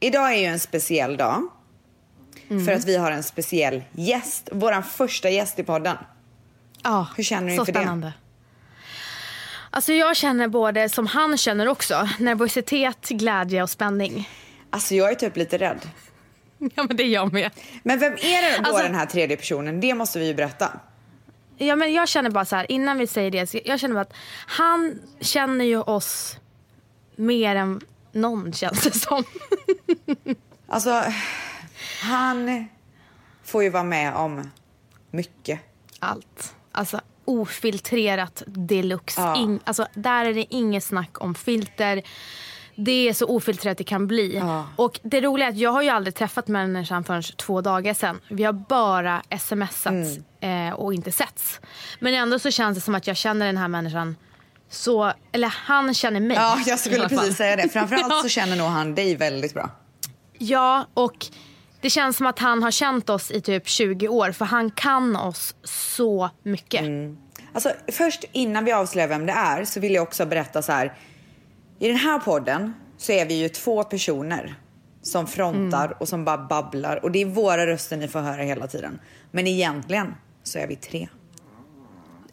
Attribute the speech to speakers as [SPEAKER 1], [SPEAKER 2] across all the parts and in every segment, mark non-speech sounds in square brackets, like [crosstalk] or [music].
[SPEAKER 1] Idag är ju en speciell dag. För att vi har en speciell gäst. Vår första gäst i podden.
[SPEAKER 2] Ja,
[SPEAKER 1] Hur känner du
[SPEAKER 2] så
[SPEAKER 1] inför det?
[SPEAKER 2] spännande. Alltså jag känner både som han känner också, nervositet, glädje och spänning.
[SPEAKER 1] Alltså jag är typ lite rädd.
[SPEAKER 2] [laughs] Ja men det är jag med.
[SPEAKER 1] Men vem är det då
[SPEAKER 2] Alltså-
[SPEAKER 1] den här tredje personen? Det måste vi ju berätta.
[SPEAKER 2] Ja, men jag känner bara så här, innan vi säger det, så jag känner bara att han känner ju oss mer än någon känns det som.
[SPEAKER 1] Alltså, han får ju vara med om mycket.
[SPEAKER 2] Allt. Alltså ofiltrerat deluxe.
[SPEAKER 1] Ja.
[SPEAKER 2] In, alltså, där är det inget snack om filter. Det är så ofiltrerat det kan bli.
[SPEAKER 1] Ja.
[SPEAKER 2] Och det roliga är att jag har ju aldrig träffat människan förrän två dagar sedan. Vi har bara smsats
[SPEAKER 1] Mm.
[SPEAKER 2] eh, och inte setts. Men ändå så känns det som att jag känner den här människan så, eller han känner mig.
[SPEAKER 1] Ja,
[SPEAKER 2] i
[SPEAKER 1] jag skulle
[SPEAKER 2] alla fall.
[SPEAKER 1] precis säga det. Framförallt [laughs]
[SPEAKER 2] Ja.
[SPEAKER 1] så känner nog han dig väldigt bra.
[SPEAKER 2] [laughs] Ja, och det känns som att han har känt oss i typ 20 år för han kan oss så mycket.
[SPEAKER 1] Alltså, först innan vi avslöjar vem det är så vill jag också berätta så här. I den här podden så är vi ju två personer som frontar och som bara babblar och det är våra röster ni får höra hela tiden. Men egentligen så är vi tre.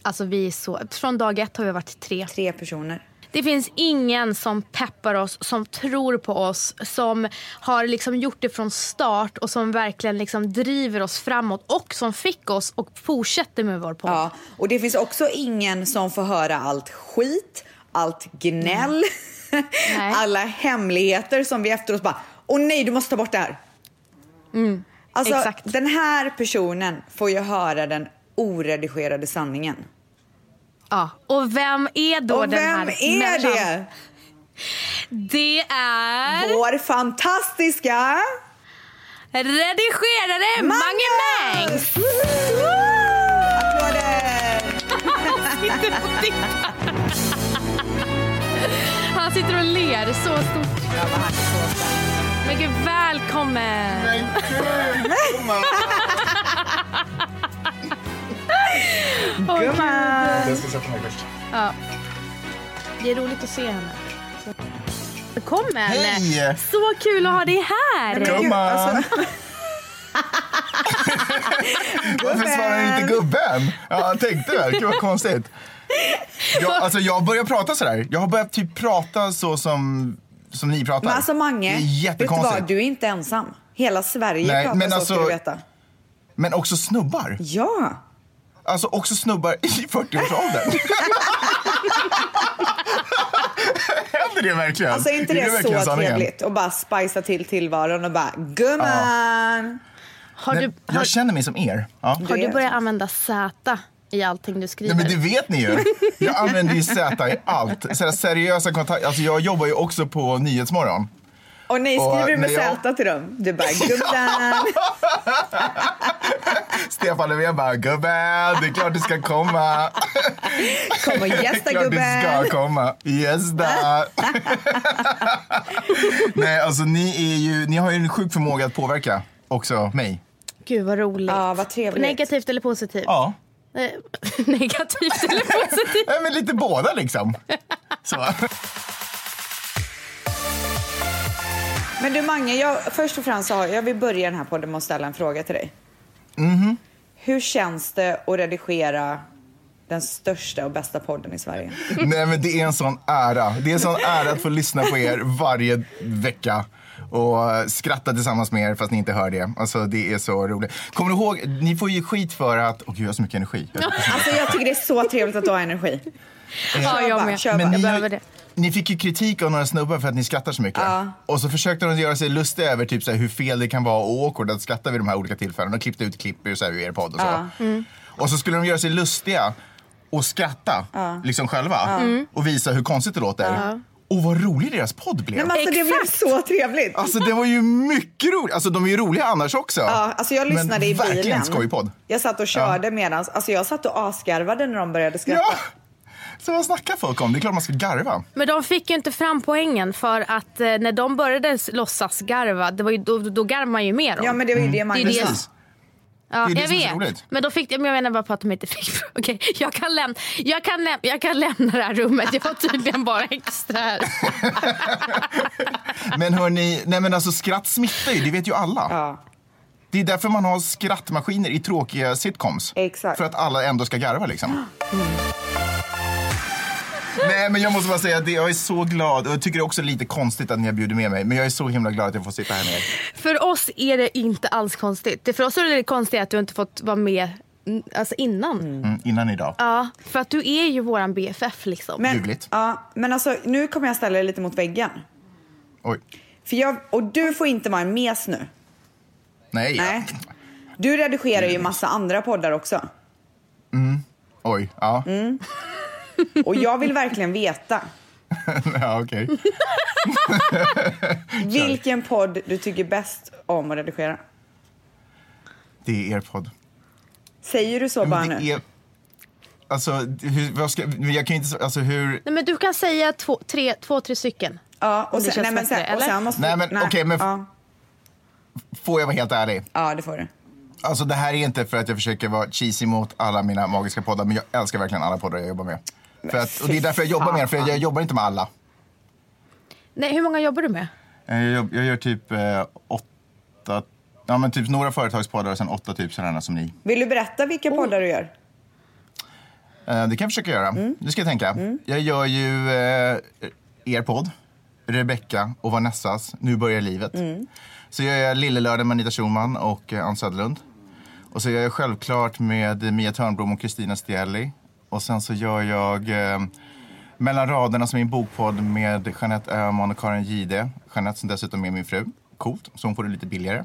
[SPEAKER 2] Alltså vi är så, från dag ett har vi varit tre.
[SPEAKER 1] Tre personer.
[SPEAKER 2] Det finns ingen som peppar oss, som tror på oss, som har liksom gjort det från start och som verkligen liksom driver oss framåt och som fick oss och fortsätter med vår podd.
[SPEAKER 1] Ja, och det finns också ingen som får höra allt skit, allt gnäll,
[SPEAKER 2] Mm.
[SPEAKER 1] [laughs]
[SPEAKER 2] Nej.
[SPEAKER 1] alla hemligheter som vi efteråt bara åh nej du måste ta bort det här. alltså
[SPEAKER 2] Mm, exakt.
[SPEAKER 1] den här personen får ju höra den oredigerade sanningen.
[SPEAKER 2] Ja. Och vem är då
[SPEAKER 1] och
[SPEAKER 2] den
[SPEAKER 1] vem
[SPEAKER 2] här
[SPEAKER 1] är
[SPEAKER 2] människan?
[SPEAKER 1] det?
[SPEAKER 2] Det är
[SPEAKER 1] Vår fantastiska
[SPEAKER 2] redigerare Mange Mangs!
[SPEAKER 1] Woohoo! Applåder!
[SPEAKER 2] Han sitter och ler så stort. Men gud, välkommen! Åh, gud.
[SPEAKER 3] Jag ska sätta mig först.
[SPEAKER 2] det är roligt att se henne. Välkommen!
[SPEAKER 3] Hej!
[SPEAKER 2] Så kul att ha dig här!
[SPEAKER 1] Men gud,
[SPEAKER 3] Gumman!
[SPEAKER 1] alltså-
[SPEAKER 3] Varför svarar du inte gubben? Ja, jag tänkte väl. Gud vad konstigt. Jag, alltså, jag börjar prata sådär. Jag har börjat typ prata så som, som ni pratar.
[SPEAKER 1] Men alltså Mange,
[SPEAKER 3] det är
[SPEAKER 1] vet du vad?
[SPEAKER 3] jättekonstigt.
[SPEAKER 1] Du är inte ensam. Hela Sverige
[SPEAKER 3] Nej,
[SPEAKER 1] pratar
[SPEAKER 3] men
[SPEAKER 1] så ska
[SPEAKER 3] alltså-
[SPEAKER 1] du veta.
[SPEAKER 3] Men också snubbar.
[SPEAKER 1] Ja.
[SPEAKER 3] Alltså också snubbar i [laughs] 40-årsåldern.
[SPEAKER 1] [laughs]
[SPEAKER 3] Händer det verkligen?
[SPEAKER 1] Alltså är inte det,
[SPEAKER 3] verkligen
[SPEAKER 1] så
[SPEAKER 3] sanningen?
[SPEAKER 1] trevligt? Och bara spicea till tillvaron och bara gumman.
[SPEAKER 2] Har
[SPEAKER 3] Nej,
[SPEAKER 2] du, har,
[SPEAKER 3] Jag känner mig som er. Ja.
[SPEAKER 2] har du börjat använda Z i allting du skriver?
[SPEAKER 3] Nej, men det vet ni ju. Jag använder ju Z i allt. Så här, seriösa kontakter. Alltså, jag jobbar ju också på Nyhetsmorgon.
[SPEAKER 1] Och nej,
[SPEAKER 3] Och
[SPEAKER 1] skriver du med
[SPEAKER 3] när jag-
[SPEAKER 1] Z till dem? Du
[SPEAKER 3] [laughs]
[SPEAKER 1] bara gumman.
[SPEAKER 3] Stefan Löfven bara, gubben, det är klart du ska komma.
[SPEAKER 1] Kom och
[SPEAKER 3] det
[SPEAKER 1] gästa
[SPEAKER 3] [laughs] är klart du ska
[SPEAKER 1] gubben.
[SPEAKER 3] komma. Gästa. Nej, alltså ni, är ju, ni har ju en sjuk förmåga att påverka också mig.
[SPEAKER 2] Gud vad roligt.
[SPEAKER 1] Ja, vad trevligt.
[SPEAKER 2] Negativt eller positivt?
[SPEAKER 3] Ja,
[SPEAKER 2] Eh, [laughs] Negativt eller positivt?
[SPEAKER 3] Nej, men lite båda liksom. Så.
[SPEAKER 1] Men du Mange, jag, först och främst så har- jag vill börja den här podden med att ställa en fråga till dig.
[SPEAKER 3] Mhm.
[SPEAKER 1] Hur känns det att redigera den största och bästa podden i Sverige?
[SPEAKER 3] Nej men det är en sån ära. Det är en sån ära att få lyssna på er varje vecka. Och eh, skratta tillsammans med er fast ni inte hör det. Alltså det är så roligt. Kommer du ihåg, ni får ju skit för att, åh gud jag har så mycket energi. Jag-
[SPEAKER 1] [laughs] Alltså jag tycker det är så trevligt att du har energi.
[SPEAKER 2] Ja, jag
[SPEAKER 1] bara,
[SPEAKER 2] med.
[SPEAKER 1] kör bara.
[SPEAKER 3] ni,
[SPEAKER 2] jag
[SPEAKER 3] har-
[SPEAKER 2] behöver det.
[SPEAKER 3] ni fick ju kritik av några snubbar för att ni skrattar så mycket. Och så försökte de göra sig lustiga över typ så här, hur fel det kan vara och awkward att skratta vid de här olika tillfällena. De klippte ut klipp ur, så här, ur er podd och så.
[SPEAKER 1] Mm.
[SPEAKER 3] Och så skulle de göra sig lustiga och skratta liksom själva
[SPEAKER 1] Mm.
[SPEAKER 3] och visa hur konstigt det låter. Och vad rolig deras podd blev.
[SPEAKER 1] Nej, men alltså, det blev
[SPEAKER 2] Exakt.
[SPEAKER 1] så trevligt.
[SPEAKER 3] Alltså det var ju mycket roligt. Alltså de är ju roliga annars också.
[SPEAKER 1] Ja, alltså jag lyssnade
[SPEAKER 3] men
[SPEAKER 1] i bilen.
[SPEAKER 3] verkligen skojpodd.
[SPEAKER 1] Jag satt och körde medans, alltså jag satt och asgarvade när de började skratta.
[SPEAKER 3] Ja! Så vad snackar folk om? Det är klart man ska garva.
[SPEAKER 2] Men de fick ju inte fram poängen för att eh, när de började s- låtsas garva, det var ju, då, då garvade man ju mer dem.
[SPEAKER 3] Mm.
[SPEAKER 1] Ja men det var ju det
[SPEAKER 2] det är
[SPEAKER 1] Magnus
[SPEAKER 2] det,
[SPEAKER 1] sa.
[SPEAKER 3] Precis.
[SPEAKER 2] Ja,
[SPEAKER 3] det är det
[SPEAKER 2] jag
[SPEAKER 3] som är
[SPEAKER 2] vet.
[SPEAKER 3] så roligt.
[SPEAKER 2] Men då fick, men jag menar bara på att de inte fick. [laughs] Okej, jag, kan läm- jag, kan läm- jag kan lämna det här rummet. Jag var tydligen bara extra
[SPEAKER 3] [laughs]
[SPEAKER 2] här.
[SPEAKER 3] Men hörni, nej men alltså skratt smittar ju, det vet ju alla.
[SPEAKER 1] Ja.
[SPEAKER 3] Det är därför man har skrattmaskiner i tråkiga sitcoms.
[SPEAKER 1] Exakt. Mm.
[SPEAKER 3] För att alla ändå ska garva liksom.
[SPEAKER 1] [gasps]
[SPEAKER 3] Nej men jag måste bara säga att det- jag är så glad och jag tycker det är också lite konstigt att ni har bjudit med mig. Men jag är så himla glad att jag får sitta här med er.
[SPEAKER 2] För oss är det inte alls konstigt. Det- För oss är det konstigt att du inte fått vara med mm, alltså innan.
[SPEAKER 3] Mm, innan idag.
[SPEAKER 2] Ja, för att du är ju våran BFF liksom.
[SPEAKER 1] Men,
[SPEAKER 3] Ljuvligt.
[SPEAKER 1] ja, men alltså, nu kommer jag ställa dig lite mot väggen.
[SPEAKER 3] Oj.
[SPEAKER 1] För jag, och du får inte vara en mes nu.
[SPEAKER 3] Nej.
[SPEAKER 1] Nej. Du redigerar ju massa andra poddar också.
[SPEAKER 3] Oj. Ja.
[SPEAKER 1] Mm. Och jag vill verkligen veta
[SPEAKER 3] [laughs] ja okej.
[SPEAKER 1] vilken podd du tycker bäst om att redigera.
[SPEAKER 3] Det är er podd.
[SPEAKER 1] Säger du så bara
[SPEAKER 3] Men det
[SPEAKER 1] nu?
[SPEAKER 3] är... Alltså, hur, vad ska, men jag kan ju inte... Alltså hur...
[SPEAKER 2] Nej, men du kan säga två, tre, två, tre stycken.
[SPEAKER 1] Ja,
[SPEAKER 2] Om
[SPEAKER 1] och
[SPEAKER 2] det
[SPEAKER 1] sen,
[SPEAKER 2] känns
[SPEAKER 1] nej, men
[SPEAKER 2] bättre,
[SPEAKER 1] sen, och
[SPEAKER 2] eller?
[SPEAKER 1] sen måste
[SPEAKER 3] Nej, men okej, men-
[SPEAKER 1] ja,
[SPEAKER 3] Får jag vara helt ärlig?
[SPEAKER 1] ja, det får du.
[SPEAKER 3] Alltså det här är inte för att jag försöker vara cheesy mot alla mina magiska poddar, men jag älskar verkligen alla poddar jag jobbar med. För att, och det är därför jag jobbar med dem, för jag jobbar inte med alla.
[SPEAKER 2] Nej, hur många jobbar du med?
[SPEAKER 3] Eh, Jag, jobb- jag gör typ eh, åtta, ja men typ några företagspoddar och sen åtta typ sådana som ni.
[SPEAKER 1] Vill du berätta
[SPEAKER 2] Oh.
[SPEAKER 1] vilka poddar du gör?
[SPEAKER 3] Eh, det kan jag försöka göra. Nu ska jag tänka. Jag gör ju eh, er podd, Rebecca och Vanessas Nu börjar livet. Så gör jag Lillelördag med Anita Schulman och eh, Ann Söderlund. Och så gör jag självklart med Mia Törnblom och Kristina Stielli. Och sen så gör jag eh, Mellan raderna som är en bokpodd med Jeanette Öhman och Karin Gide. Jeanette som dessutom är min fru. Coolt, så hon får det lite billigare.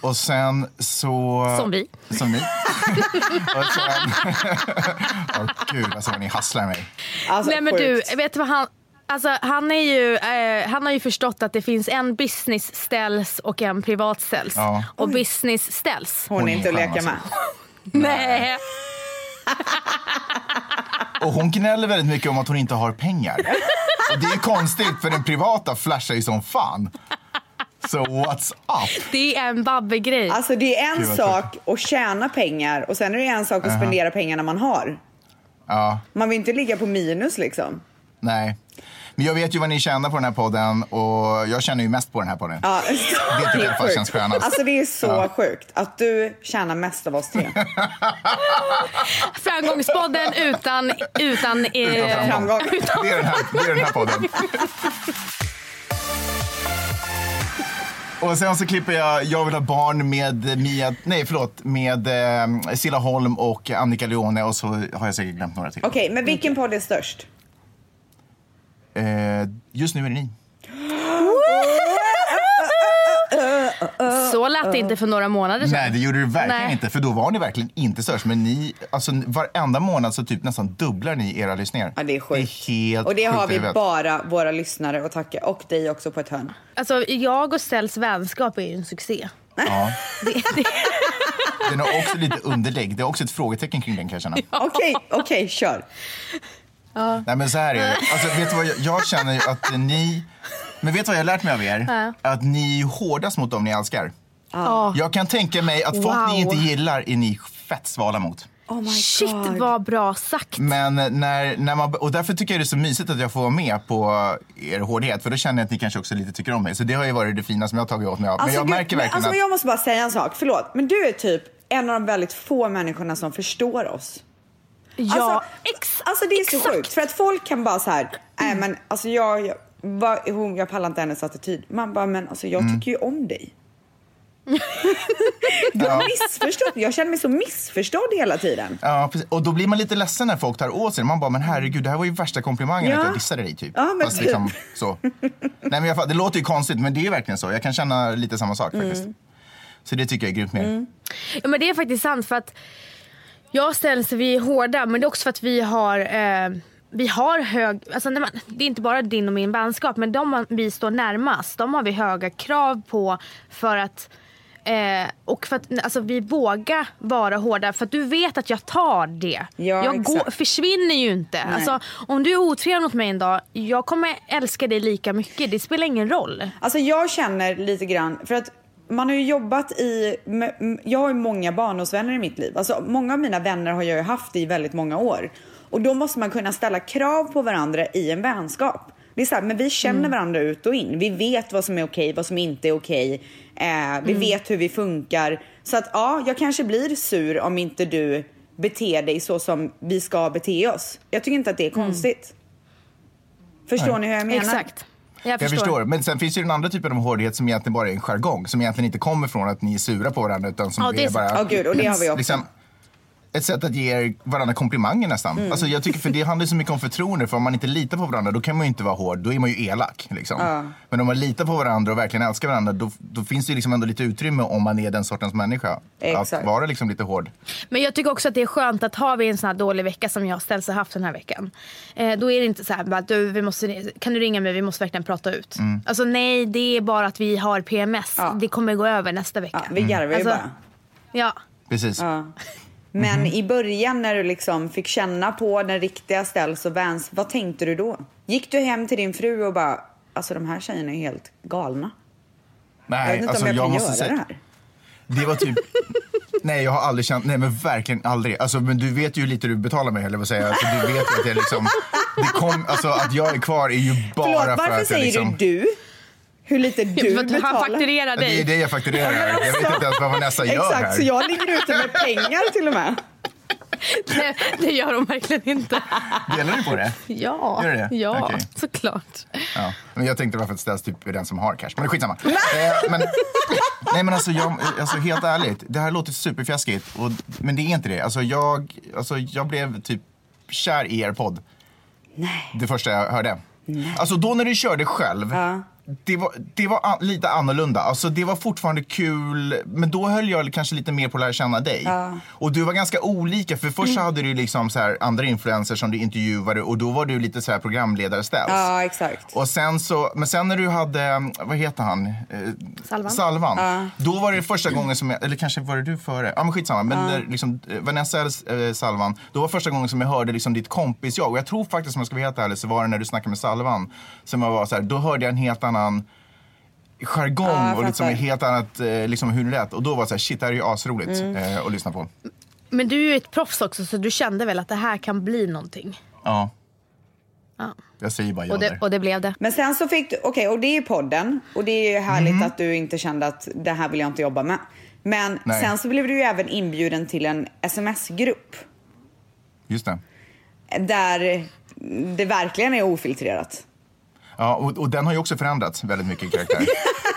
[SPEAKER 3] Och sen så...
[SPEAKER 2] Som vi.
[SPEAKER 3] Som ni. [laughs] och sen... [laughs] Åh gud, alltså vad ni hasslar mig.
[SPEAKER 1] Alltså,
[SPEAKER 2] Nej men du,
[SPEAKER 1] sjukt.
[SPEAKER 2] vet du vad han... Alltså, han, är ju, eh, han har ju förstått att det finns en business ställs och en privat ställs.
[SPEAKER 3] Ja.
[SPEAKER 2] Och business ställs.
[SPEAKER 1] Hon är inte att
[SPEAKER 3] Hon är
[SPEAKER 1] leka
[SPEAKER 3] skön, alltså.
[SPEAKER 1] med.
[SPEAKER 2] Nej.
[SPEAKER 3] Och hon gnäller väldigt mycket om att hon inte har pengar. Och det är ju konstigt, för den privata flashar ju som fan. Så what's up?
[SPEAKER 2] Det är en Babbe-grej.
[SPEAKER 1] Alltså det är en
[SPEAKER 3] Gud, vad
[SPEAKER 1] sak att tjäna pengar och sen är det en sak att spendera pengarna man har.
[SPEAKER 3] Ja,
[SPEAKER 1] Man vill inte ligga på minus liksom.
[SPEAKER 3] nej. Men jag vet ju vad ni tjänar på den här podden och jag känner ju mest på den här podden.
[SPEAKER 1] Ja.
[SPEAKER 3] Det tycker jag fan
[SPEAKER 1] sjukt.
[SPEAKER 3] känns skönast.
[SPEAKER 1] Alltså det är så sjukt att du tjänar mest av oss tre. Alltså-
[SPEAKER 2] Framgångspodden utan...
[SPEAKER 1] [laughs]
[SPEAKER 2] utan,
[SPEAKER 3] Utan
[SPEAKER 2] eh,
[SPEAKER 3] framgång.
[SPEAKER 1] framgång.
[SPEAKER 3] Det är den här, det är den här podden. Och sen så klipper jag Jag vill ha barn med Mia, nej förlåt, med eh, Silla Holm och Annika Leone och så har jag säkert glömt några till.
[SPEAKER 1] Okej, men vilken podd är störst?
[SPEAKER 3] Eh, just nu är det ni.
[SPEAKER 2] så lät det inte för några månader sedan.
[SPEAKER 3] Nej, det gjorde du verkligen
[SPEAKER 2] Nej.
[SPEAKER 3] inte. För då var ni verkligen inte störst. Men ni, alltså varenda månad så typ nästan dubblar ni era lyssningar.
[SPEAKER 1] Ja, det är sjukt.
[SPEAKER 3] Det är helt
[SPEAKER 1] och det
[SPEAKER 3] sjukt
[SPEAKER 1] har
[SPEAKER 3] i
[SPEAKER 1] vi
[SPEAKER 3] huvudet.
[SPEAKER 1] bara våra lyssnare att tacka och dig också på ett hörn.
[SPEAKER 2] Alltså, jag och Stells vänskap är ju en succé.
[SPEAKER 3] Ja.
[SPEAKER 2] Det, det,
[SPEAKER 3] [laughs] Den har också lite underlägg. Det är också ett frågetecken kring den kan jag känna.
[SPEAKER 1] Okej, okej, kör.
[SPEAKER 3] Nej men så här är det. Alltså, vet du vad jag, jag känner ju att ni... Men vet du vad jag har lärt mig av er? Att ni är hårdast mot dem ni älskar.
[SPEAKER 2] Ja.
[SPEAKER 3] Jag kan tänka mig att folk ni
[SPEAKER 2] Wow.
[SPEAKER 3] inte gillar är ni fett svala mot.
[SPEAKER 1] Oh my
[SPEAKER 2] Shit
[SPEAKER 1] god.
[SPEAKER 2] vad bra sagt.
[SPEAKER 3] Men när, när man, och därför tycker jag det är så mysigt att jag får vara med på er hårdhet. För då känner jag att ni kanske också lite tycker om mig. Så det har ju varit det fina som jag har tagit åt mig av. men jag
[SPEAKER 1] gud,
[SPEAKER 3] märker
[SPEAKER 1] men
[SPEAKER 3] verkligen
[SPEAKER 1] alltså,
[SPEAKER 3] att...
[SPEAKER 1] Jag måste bara säga en sak, förlåt. Men du är typ en av de väldigt få människorna som förstår oss.
[SPEAKER 2] Ja,
[SPEAKER 1] alltså,
[SPEAKER 2] ex-
[SPEAKER 1] alltså det är så
[SPEAKER 2] exakt. Mm.
[SPEAKER 1] sjukt. För att folk kan bara så här, nej men alltså jag, jag, vad- hon, jag pallar inte hennes attityd. Man bara, men alltså jag
[SPEAKER 2] Mm.
[SPEAKER 1] tycker ju om dig.
[SPEAKER 2] [laughs]
[SPEAKER 1] du har missförstått, jag känner mig så missförstådd hela tiden.
[SPEAKER 3] Ja, precis. Och då blir man lite ledsen när folk tar åt sig det. Man bara, men herregud, det här var ju värsta komplimangen
[SPEAKER 1] Ja.
[SPEAKER 3] att jag dissade dig typ.
[SPEAKER 1] Ja, men
[SPEAKER 3] Fast
[SPEAKER 1] typ.
[SPEAKER 3] liksom så. Nej, men jag, fatt- det låter ju konstigt, men det är verkligen så. Jag kan känna lite samma sak faktiskt. Så det tycker jag är grymt med er.
[SPEAKER 2] Ja, men det är faktiskt sant för att jag och Stells vi är hårda men det är också för att vi har eh, vi har hög, alltså när man, det är inte bara din och min vänskap men de man- vi står närmast, de har vi höga krav på för att Eh, och för att alltså, vi vågar vara hårda för att du vet att jag tar det.
[SPEAKER 1] Ja,
[SPEAKER 2] jag
[SPEAKER 1] exakt.
[SPEAKER 2] försvinner ju inte.
[SPEAKER 1] Nej.
[SPEAKER 2] Alltså, om du är otrevlig mot mig en dag, jag kommer älska dig lika mycket. Det spelar ingen roll.
[SPEAKER 1] Alltså jag känner lite grann, för att man har ju jobbat i, med- m- jag har ju många barndomsvänner i mitt liv. Alltså många av mina vänner har jag ju haft i väldigt många år. Och då måste man kunna ställa krav på varandra i en vänskap. Det är så här, men vi känner varandra ut och in. Vi vet vad som är okej, vad som inte är okej. Eh, vi vet hur vi funkar. Så att ja, jag kanske blir sur om inte du beter dig så som vi ska bete oss. Jag tycker inte att det är konstigt. Förstår
[SPEAKER 3] Nej.
[SPEAKER 1] ni hur jag menar?
[SPEAKER 2] Exakt. Jag
[SPEAKER 3] Jag
[SPEAKER 2] förstår.
[SPEAKER 3] förstår. Men sen finns ju den andra typen av hårdhet som egentligen bara är en jargong. Som egentligen inte kommer från att ni är sura på varandra utan som
[SPEAKER 2] Ja, det är sant.
[SPEAKER 3] bara...
[SPEAKER 1] Ja, gud, och det har vi också.
[SPEAKER 3] Liksom, ett sätt att ge er varandra komplimanger nästan.
[SPEAKER 1] Mm.
[SPEAKER 3] Alltså, jag tycker för det handlar ju så mycket om förtroende. För om man inte litar på varandra då kan man ju inte vara hård. Då är man ju elak. Liksom. Men om man litar på varandra och verkligen älskar varandra då, då finns det ju liksom ändå lite utrymme om man är den sortens människa.
[SPEAKER 1] Exakt.
[SPEAKER 3] Att vara liksom lite hård.
[SPEAKER 2] Men jag tycker också att det är skönt att har vi en sån här dålig vecka som jag ställs och haft den här veckan. Eh, då är det inte så här bara, du, vi måste, kan du ringa mig, vi måste verkligen prata ut.
[SPEAKER 3] Mm.
[SPEAKER 2] Alltså nej, det är bara att vi har PMS.
[SPEAKER 1] Ja.
[SPEAKER 2] Det kommer gå över nästa
[SPEAKER 1] Ja,
[SPEAKER 2] vecka.
[SPEAKER 1] vi garvar ju
[SPEAKER 2] Alltså,
[SPEAKER 1] bara.
[SPEAKER 2] Ja.
[SPEAKER 3] Precis.
[SPEAKER 1] Ja. Men i början när du liksom fick känna på den riktiga Ställs och Vans, vad tänkte du då? Gick du hem till din fru och bara, alltså de här tjejerna är helt galna. Jag vet
[SPEAKER 3] Nej,
[SPEAKER 1] inte
[SPEAKER 3] alltså,
[SPEAKER 1] om jag,
[SPEAKER 3] jag,
[SPEAKER 1] kan
[SPEAKER 3] måste
[SPEAKER 1] göra det
[SPEAKER 3] säga.
[SPEAKER 1] här.
[SPEAKER 3] Det var typ... Nej, jag har aldrig känt... Nej, men verkligen aldrig. Alltså, men du vet ju hur lite du betalar mig, eller vad säger jag? Alltså, du vet ju att jag liksom... Det kom, alltså, att jag är kvar är ju bara
[SPEAKER 1] Förlåt,
[SPEAKER 3] för
[SPEAKER 1] varför
[SPEAKER 3] att jag
[SPEAKER 1] säger
[SPEAKER 3] liksom...
[SPEAKER 1] du du? Hur lite du
[SPEAKER 2] För att han
[SPEAKER 1] betalar?
[SPEAKER 2] fakturerar
[SPEAKER 3] Det är
[SPEAKER 2] dig. alltså.
[SPEAKER 3] det jag fakturerar. Jag vet inte ens vad Vanessa gör
[SPEAKER 1] Exakt,
[SPEAKER 3] här.
[SPEAKER 1] så jag ligger ute med pengar till och med.
[SPEAKER 2] Nej, [laughs] det gör de verkligen
[SPEAKER 1] [laughs]
[SPEAKER 2] inte.
[SPEAKER 3] Delar du på det?
[SPEAKER 2] Ja,
[SPEAKER 3] Gör det?
[SPEAKER 2] ja
[SPEAKER 3] Okej.
[SPEAKER 2] såklart.
[SPEAKER 3] Ja. Men jag tänkte varför ställs typ är den som har cash. Men det är skitsamma. Eh, men, nej men alltså, jag, alltså helt ärligt. Det här låter superfjäskigt. Och, men det är inte det. Alltså jag, alltså, jag blev typ kär i er podd.
[SPEAKER 1] Nej.
[SPEAKER 3] Det första jag hörde. Alltså då när du körde själv.
[SPEAKER 1] Ja.
[SPEAKER 3] Det var, det var an- lite annorlunda. Alltså, det var fortfarande kul, men då höll jag kanske lite mer på att lära känna dig. Och du var ganska olika, för först så
[SPEAKER 1] Mm.
[SPEAKER 3] hade du liksom så här andra influencers som du intervjuade och då var du lite så här programledare
[SPEAKER 1] [laughs] Ja, exakt.
[SPEAKER 3] och sen så, men sen när du hade, vad heter han? Eh,
[SPEAKER 2] Salvan.
[SPEAKER 3] Salvan. Då var det första gången som jag, eller kanske var det du före? Ja men skitsamma. Men när, liksom, eh, Vanessa eller eh, Salvan, då var första gången som jag hörde liksom, ditt kompis jag. Och jag tror faktiskt om jag ska vara helt ärlig så var det när du snackade med Salvan. Som jag var så här, då hörde jag en helt annan jargong
[SPEAKER 1] Ja, jag
[SPEAKER 3] och liksom
[SPEAKER 1] fattar.
[SPEAKER 3] ett helt annat eh, liksom, hur det lät. Och då var det så här, shit det här är ju asroligt
[SPEAKER 1] Mm.
[SPEAKER 3] eh, att lyssna på.
[SPEAKER 2] Men du är ju ett proffs också så du kände väl att det här kan bli någonting.
[SPEAKER 3] Ja.
[SPEAKER 2] Ja.
[SPEAKER 3] Jag säger bara ja
[SPEAKER 2] Och det,
[SPEAKER 3] där.
[SPEAKER 2] och det blev det.
[SPEAKER 1] Men sen så fick du, okej och det är podden och det är ju härligt att du inte kände att det här vill jag inte jobba med. Men
[SPEAKER 3] Nej.
[SPEAKER 1] sen så blev du ju även inbjuden till en sms-grupp.
[SPEAKER 3] Just det.
[SPEAKER 1] där det verkligen är ofiltrerat.
[SPEAKER 3] Liksom. Ja, och, och den har ju också förändrats väldigt mycket i karaktär.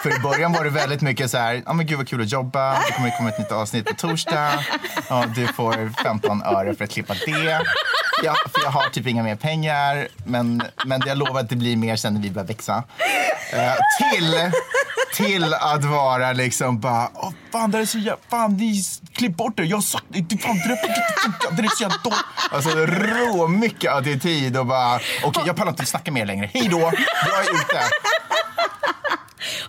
[SPEAKER 3] För i början var det väldigt mycket så här, ja men gud vad kul att jobba, det kommer komma ett nytt avsnitt på torsdag, ja, du får 15 öre för att klippa det. Ja, för jag har typ inga mer pengar, men, men jag lovar att det blir mer sen när vi börjar växa. Eh, till, till att vara liksom bara, åh fan det här är så jävla, fan ni s- klipp bort det, jag sa, det- fan det där- det där är så jävla dåligt. Alltså råmycket attityd och bara, okej jag pallar inte snacka mer längre, hej då, jag är ute.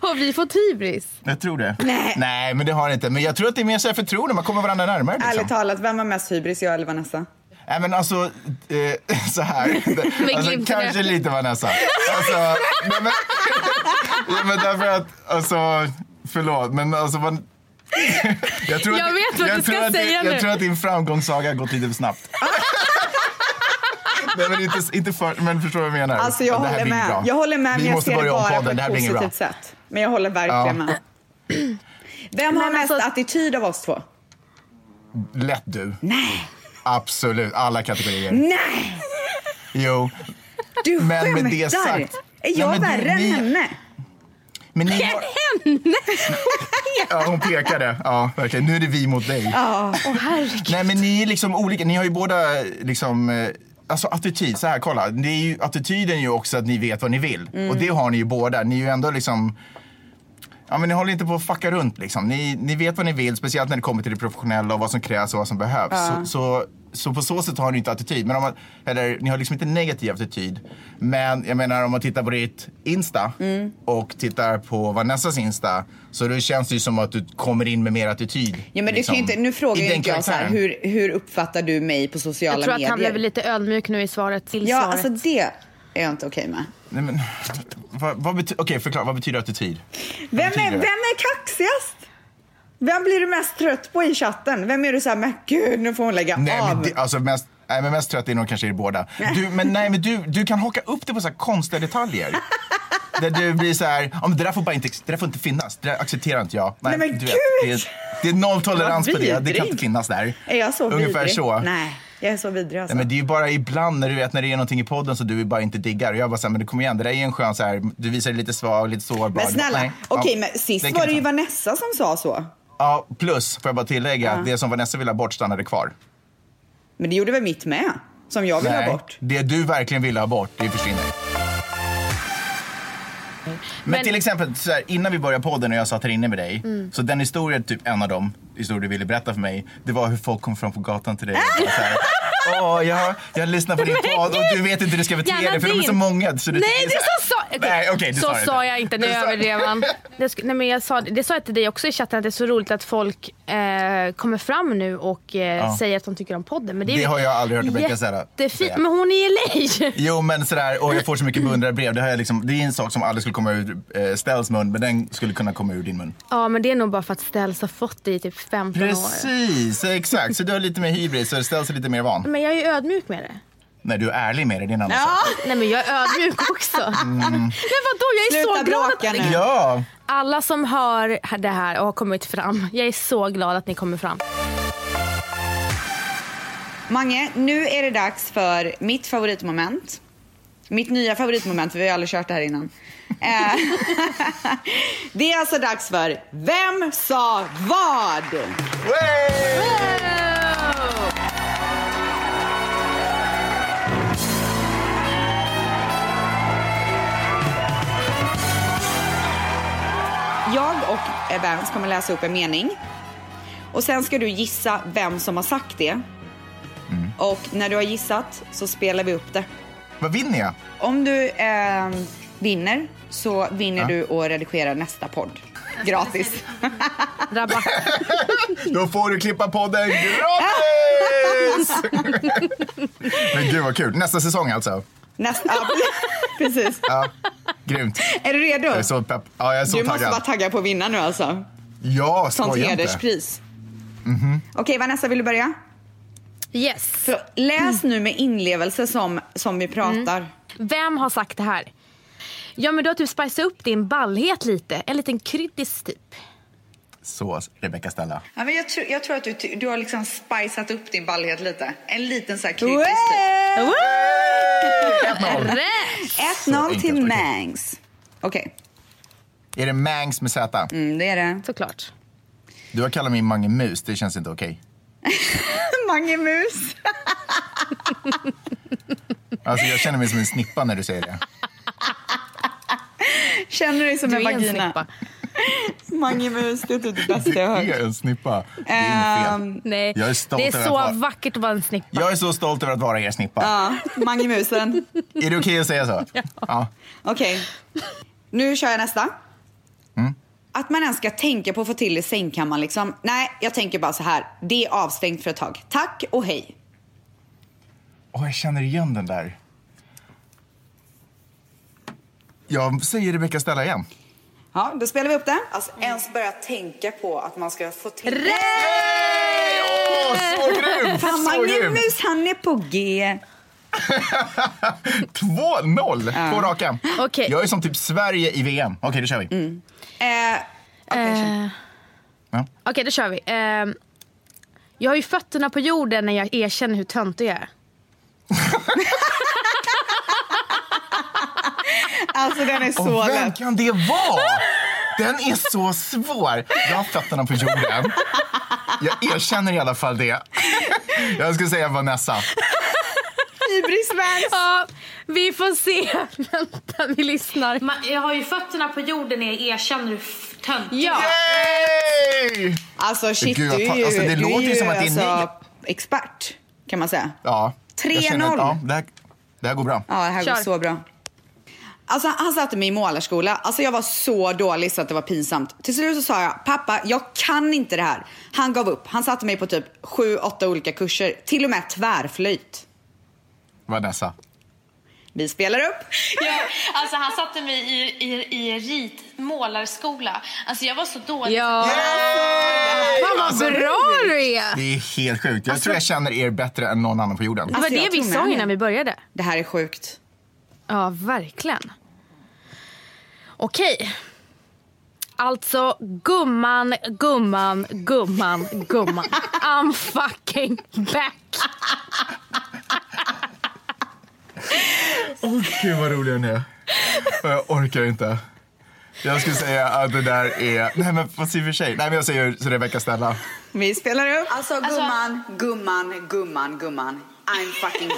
[SPEAKER 2] Har vi fått hybris?
[SPEAKER 3] Jag tror det.
[SPEAKER 1] Nej.
[SPEAKER 3] Nej men det har det inte, men jag tror att det är mer så här förtroende, man kommer varandra närmare liksom.
[SPEAKER 1] Ärligt talat, vem har mest hybris, jag eller Vanessa?
[SPEAKER 3] Nej men alltså, eh, [laughs]
[SPEAKER 2] [laughs]
[SPEAKER 3] så här. alltså,
[SPEAKER 2] glimten i
[SPEAKER 3] kanske
[SPEAKER 2] ögat.
[SPEAKER 3] lite Vanessa.
[SPEAKER 2] [laughs]
[SPEAKER 3] Alltså, nej, men, ja, men därför att, alltså, förlåt men alltså man, [laughs] jag, tror
[SPEAKER 2] Jag
[SPEAKER 3] att,
[SPEAKER 2] vet vad du ska
[SPEAKER 3] tror att,
[SPEAKER 2] säga
[SPEAKER 3] Jag
[SPEAKER 2] nu.
[SPEAKER 3] tror att din framgångssaga har gått lite
[SPEAKER 2] [laughs]
[SPEAKER 3] för snabbt. Nej, men, inte, inte för, men förstår vad jag menar?
[SPEAKER 1] Alltså jag
[SPEAKER 3] det här
[SPEAKER 1] håller
[SPEAKER 3] blir
[SPEAKER 1] med.
[SPEAKER 3] bra.
[SPEAKER 1] Jag håller med men
[SPEAKER 3] Vi
[SPEAKER 1] jag
[SPEAKER 3] måste
[SPEAKER 1] ser det
[SPEAKER 3] börja om
[SPEAKER 1] bara på
[SPEAKER 3] podden, det här
[SPEAKER 1] ett
[SPEAKER 3] blir inget bra.
[SPEAKER 1] positivt sätt. Men jag håller verkligen
[SPEAKER 3] Ja.
[SPEAKER 1] med. Vem har
[SPEAKER 2] Men
[SPEAKER 1] mest
[SPEAKER 2] alltså-
[SPEAKER 1] attityd av oss två?
[SPEAKER 3] Lätt du.
[SPEAKER 1] Nej,
[SPEAKER 3] Absolut, alla kategorier.
[SPEAKER 1] nej,
[SPEAKER 3] Jo.
[SPEAKER 1] du
[SPEAKER 3] Men med det
[SPEAKER 1] skämtar!
[SPEAKER 3] sagt-
[SPEAKER 1] är
[SPEAKER 3] Ja,
[SPEAKER 1] jag
[SPEAKER 3] men du-
[SPEAKER 1] värre
[SPEAKER 3] ni-
[SPEAKER 1] än henne?
[SPEAKER 3] Men ni har... [laughs] Ja, hon pekade. Ja, verkligen. Nu är det vi mot dig.
[SPEAKER 1] Ja,
[SPEAKER 2] Åh herregud.
[SPEAKER 3] Nej men ni är liksom olika, ni har ju båda liksom eh, Alltså attityd, så här kolla. Det är ju, attityden är ju också att ni vet vad ni vill. Och det har ni ju båda. Ni är ju ändå liksom... Ja men ni håller inte på att fucka runt liksom. Ni, ni vet vad ni vill, speciellt när det kommer till det professionella och vad som krävs och vad som behövs. Så, så, så på så sätt har ni inte attityd. Men om man, eller ni har liksom inte negativ attityd. Men jag menar om man tittar på ditt Insta
[SPEAKER 1] Mm.
[SPEAKER 3] och tittar på Vanessas Insta. Så det känns det ju som att du kommer in med mer attityd.
[SPEAKER 1] ja men
[SPEAKER 3] liksom,
[SPEAKER 1] du kan ju inte, nu frågar
[SPEAKER 3] i
[SPEAKER 1] ju
[SPEAKER 3] den
[SPEAKER 1] inte jag så här,
[SPEAKER 3] karaktären.
[SPEAKER 1] hur, hur uppfattar du mig på sociala
[SPEAKER 2] Jag tror att
[SPEAKER 1] medier?
[SPEAKER 2] han blev lite ödmjuk nu i svaret till
[SPEAKER 1] Ja,
[SPEAKER 2] svaret.
[SPEAKER 1] alltså det är jag inte okej med.
[SPEAKER 3] Nej, men, [laughs] vad, vad bety- Okej, förklara. Vad betyder attityd? Vad
[SPEAKER 1] Vem är,
[SPEAKER 3] betyder
[SPEAKER 1] vem
[SPEAKER 3] det?
[SPEAKER 1] är kaxigast? Vem blir du mest trött på i chatten? Vem är du så här, men gud, nu får hon lägga
[SPEAKER 3] Nej,
[SPEAKER 1] av.
[SPEAKER 3] men, det, alltså, mest, nej, men mest trött är nog kanske er båda. Du, men, nej, men du, du kan haka upp det på så här
[SPEAKER 1] [laughs]
[SPEAKER 3] konstiga detaljer. Där du blir så här, ja, men det där får bara inte, det där får inte finnas. Det där accepterar inte jag.
[SPEAKER 1] Nej, men
[SPEAKER 3] du
[SPEAKER 1] gud!
[SPEAKER 3] det, är, det är noll tolerans på det. Det
[SPEAKER 1] vidrig.
[SPEAKER 3] kan inte finnas där.
[SPEAKER 1] Är jag så
[SPEAKER 3] Ungefär
[SPEAKER 1] vidrig?
[SPEAKER 3] så.
[SPEAKER 1] Nej, jag är så vidrig alltså.
[SPEAKER 3] Nej, men det är ju bara ibland när du vet när det är någonting i podden så du bara inte diggar. Och jag bara såhär, men det kommer igen, det där är en skön så här, du visar dig lite svag, lite sårbar.
[SPEAKER 1] Men snälla,
[SPEAKER 3] Nej, ja,
[SPEAKER 1] okej men sist
[SPEAKER 3] kan
[SPEAKER 1] var det
[SPEAKER 3] jag
[SPEAKER 1] ju
[SPEAKER 3] ta.
[SPEAKER 1] Vanessa som sa så.
[SPEAKER 3] Ja, plus, får jag bara tillägga, det som Vanessa ville ha bort stannade kvar.
[SPEAKER 1] Men det gjorde väl mitt med? Som jag vill ha
[SPEAKER 3] Nej,
[SPEAKER 1] bort.
[SPEAKER 3] det du verkligen ville ha bort, det försvinner. Men,
[SPEAKER 2] Men- Mm.
[SPEAKER 3] till exempel, så här, innan vi började podden och jag satt här inne med dig. Så den historien, typ en av dem, historier du ville berätta för mig. Det var hur folk kom fram på gatan till dig och bara
[SPEAKER 2] [laughs]
[SPEAKER 3] så här, Åh, jag, jag lyssnar på din
[SPEAKER 2] Men
[SPEAKER 3] podd och du
[SPEAKER 2] gud!
[SPEAKER 3] vet inte hur du ska bete
[SPEAKER 2] Gärna
[SPEAKER 3] dig för de är
[SPEAKER 2] din.
[SPEAKER 3] så många. Så du
[SPEAKER 2] Nej,
[SPEAKER 3] tycker
[SPEAKER 2] det
[SPEAKER 3] så här-
[SPEAKER 2] så sa okej.
[SPEAKER 3] Nej, okej, du
[SPEAKER 2] Så
[SPEAKER 3] det
[SPEAKER 2] sa jag inte, nu
[SPEAKER 3] Du sa-
[SPEAKER 2] överdrev
[SPEAKER 3] [laughs]
[SPEAKER 2] han. Det, sk- nej, men jag sa, det sa jag till dig också i chatten, att det är så roligt att folk eh, kommer fram nu och eh, säger att de tycker om podden. Men det, är
[SPEAKER 3] Det
[SPEAKER 2] ju
[SPEAKER 3] har jag aldrig hört Rebecca säga.
[SPEAKER 2] jättefint. Men hon är i LA!
[SPEAKER 3] Jo men sådär, och jag får så mycket
[SPEAKER 2] Mm.
[SPEAKER 3] beundrarbrev. Det, har jag liksom, det är en sak som aldrig skulle komma ur eh, Stells mun, men den skulle kunna komma ur din mun.
[SPEAKER 2] [laughs] Ja men det är nog bara för att Ställs har fått det i typ 15 år.
[SPEAKER 3] Precis, exakt. Så du har lite mer hybris, så Stells är lite mer van.
[SPEAKER 2] Men jag är ju ödmjuk med det.
[SPEAKER 3] Nej, du är ärlig med det, det är en annan
[SPEAKER 1] Ja,
[SPEAKER 3] sak.
[SPEAKER 2] Nej men jag är
[SPEAKER 3] [laughs]
[SPEAKER 2] ödmjuk också. [laughs]
[SPEAKER 3] Mm.
[SPEAKER 2] Men vadå jag är
[SPEAKER 1] Sluta
[SPEAKER 2] så glad
[SPEAKER 1] bråka
[SPEAKER 2] att
[SPEAKER 1] nu.
[SPEAKER 2] ni,
[SPEAKER 3] Ja,
[SPEAKER 2] alla som hör det här och har kommit fram. Jag är så glad att ni kommer fram.
[SPEAKER 1] Mange, nu är det dags för mitt favoritmoment. Mitt nya favoritmoment, för vi har aldrig kört det här innan. Eh, [laughs] det är alltså dags för Vem sa vad?
[SPEAKER 3] Wey!
[SPEAKER 1] Jag och eh, Vance kommer läsa upp en mening. Och sen ska du gissa vem som har sagt det.
[SPEAKER 3] Mm.
[SPEAKER 1] Och när du har gissat så spelar vi upp det.
[SPEAKER 3] Vad vinner jag?
[SPEAKER 1] Om du eh, vinner så vinner du och redigerar nästa podd. Gratis.
[SPEAKER 3] [laughs]
[SPEAKER 2] Rabatt.
[SPEAKER 3] Då får du klippa podden gratis!
[SPEAKER 1] [laughs]
[SPEAKER 3] men gud vad kul. Nästa säsong alltså.
[SPEAKER 1] Nästa, ja, [laughs] precis.
[SPEAKER 3] Ja, grymt.
[SPEAKER 1] Är du redo?
[SPEAKER 3] Jag är så pepp. Ja, jag är så
[SPEAKER 1] du måste
[SPEAKER 3] taggad.
[SPEAKER 1] vara taggad på att vinna nu alltså.
[SPEAKER 3] ja,
[SPEAKER 1] Sånt
[SPEAKER 3] skoja inte. Mhm.
[SPEAKER 1] hederspris. Okej, Vanessa, vill du börja?
[SPEAKER 2] Yes.
[SPEAKER 1] Så, mm. läs nu med inlevelse som, som vi pratar.
[SPEAKER 2] Vem har sagt det här? Ja men du har typ spicat upp din ballhet lite. En liten kryddis typ.
[SPEAKER 3] Så, Rebecca Stella.
[SPEAKER 1] Ja, men jag, tror- jag tror att du, ty- du har liksom spicat upp din ballhet lite. En liten så här kryddis typ.
[SPEAKER 2] Wow!
[SPEAKER 3] Så
[SPEAKER 1] 1-0
[SPEAKER 3] enkelt,
[SPEAKER 1] till
[SPEAKER 3] okej.
[SPEAKER 1] Mangs. Okej,
[SPEAKER 3] Är det Mangs med Z?
[SPEAKER 1] mm, det är det.
[SPEAKER 2] Såklart.
[SPEAKER 3] Du har kallat mig Mange Mus, det känns inte okej.
[SPEAKER 1] [laughs] Mange Mus.
[SPEAKER 3] Alltså, jag känner mig som en snippa när du säger det.
[SPEAKER 1] Känner dig som
[SPEAKER 2] Du
[SPEAKER 1] en
[SPEAKER 2] är en
[SPEAKER 1] vagina.
[SPEAKER 2] snippa.
[SPEAKER 1] Mange Mus, det är typ det bästa
[SPEAKER 3] Det
[SPEAKER 1] jag har
[SPEAKER 3] [laughs]
[SPEAKER 1] hört. Ehm.
[SPEAKER 3] är en snippa. Det är inget fel.
[SPEAKER 2] Nej.
[SPEAKER 3] Jag är stolt
[SPEAKER 2] det är
[SPEAKER 3] över
[SPEAKER 2] så
[SPEAKER 3] att vara-
[SPEAKER 2] vackert att vara en snippa.
[SPEAKER 3] Jag är så stolt över att vara er snippa.
[SPEAKER 1] Ja, Mange Musen.
[SPEAKER 3] Är det okej att säga
[SPEAKER 1] [laughs]
[SPEAKER 3] så? Ja.
[SPEAKER 1] Okej. Nu kör jag nästa.
[SPEAKER 3] Mm.
[SPEAKER 1] Att man ens ska tänka på att få till i sängkammaren liksom. Nej, jag tänker bara så här. Det är avstängt för ett tag. Tack och hej.
[SPEAKER 3] Åh, jag känner igen den där. Jag säger Rebecca Stella igen.
[SPEAKER 1] Ja, då spelar vi upp det. Alltså ens börja tänka på att man ska få till... Rätt!
[SPEAKER 3] Åh, så grymt!
[SPEAKER 1] Fan,
[SPEAKER 3] Så
[SPEAKER 1] Mange
[SPEAKER 3] grymt!
[SPEAKER 1] Mus, han är på G.
[SPEAKER 3] 2-0! Två raka.
[SPEAKER 2] Okej.
[SPEAKER 3] Jag är som typ Sverige i VM. Okej, då kör vi.
[SPEAKER 4] typ.
[SPEAKER 1] Eh, okej, kör.
[SPEAKER 2] Eh,
[SPEAKER 3] Ja.
[SPEAKER 2] Okej, då kör vi. Eh, jag har ju fötterna på jorden när jag erkänner hur töntig jag är.
[SPEAKER 1] Alltså den är så
[SPEAKER 3] Och vem
[SPEAKER 1] lätt.
[SPEAKER 3] kan det vara? Den är så svår. Jag har fötterna på jorden. Jag erkänner i alla fall det. Jag skulle säga Vanessa.
[SPEAKER 1] Hybris Vans.
[SPEAKER 2] Ja, vi får se. [laughs] Vänta, vi lyssnar. jag har ju fötterna på jorden när jag erkänner hur töntig ja.
[SPEAKER 3] Yay!
[SPEAKER 1] Alltså shit,
[SPEAKER 3] Gud, jag
[SPEAKER 1] du är
[SPEAKER 3] tar-
[SPEAKER 1] ju,
[SPEAKER 3] alltså, det
[SPEAKER 1] du
[SPEAKER 3] låter
[SPEAKER 1] är
[SPEAKER 3] ju som att det är
[SPEAKER 1] alltså, expert kan man säga.
[SPEAKER 3] Ja. jag känner att,
[SPEAKER 1] 3-0.
[SPEAKER 3] Ja, det, här, det här går bra.
[SPEAKER 1] Ja, det här går
[SPEAKER 2] Kör.
[SPEAKER 1] så bra. Alltså, han satte mig i målarskola. Alltså, jag var så dålig så att det var pinsamt. Till slut så sa jag, pappa, jag kan inte det här. Han gav upp. Han satte mig på typ sju, åtta olika kurser. Till och med tvärflöjt.
[SPEAKER 3] Vanessa.
[SPEAKER 4] Vi spelar upp.
[SPEAKER 5] Ja, alltså han satte mig i, i, i ritmålarskola. Alltså jag var så dålig.
[SPEAKER 2] Ja. Fan vad
[SPEAKER 3] Alltså,
[SPEAKER 2] bra du är!
[SPEAKER 3] Det är helt sjukt. Jag
[SPEAKER 2] Alltså-
[SPEAKER 3] tror jag känner er bättre än någon annan på jorden.
[SPEAKER 2] Det var
[SPEAKER 4] Alltså,
[SPEAKER 2] det
[SPEAKER 4] jag
[SPEAKER 2] vi
[SPEAKER 4] tror
[SPEAKER 2] sa
[SPEAKER 4] med.
[SPEAKER 2] innan vi började.
[SPEAKER 4] Det här är sjukt.
[SPEAKER 2] Ja, verkligen. Okej. Alltså, gumman, gumman, gumman, [laughs] gumman. I'm fucking back.
[SPEAKER 3] Åh, Gud vad rolig den är. Jag orkar inte. Jag skulle säga att det där är... Nej men fast i och för sig. Nej men jag säger så Rebecca Stella.
[SPEAKER 4] Vi spelar upp. Alltså gumman, gumman, gumman, gumman. I'm [laughs] fucking
[SPEAKER 3] Yay!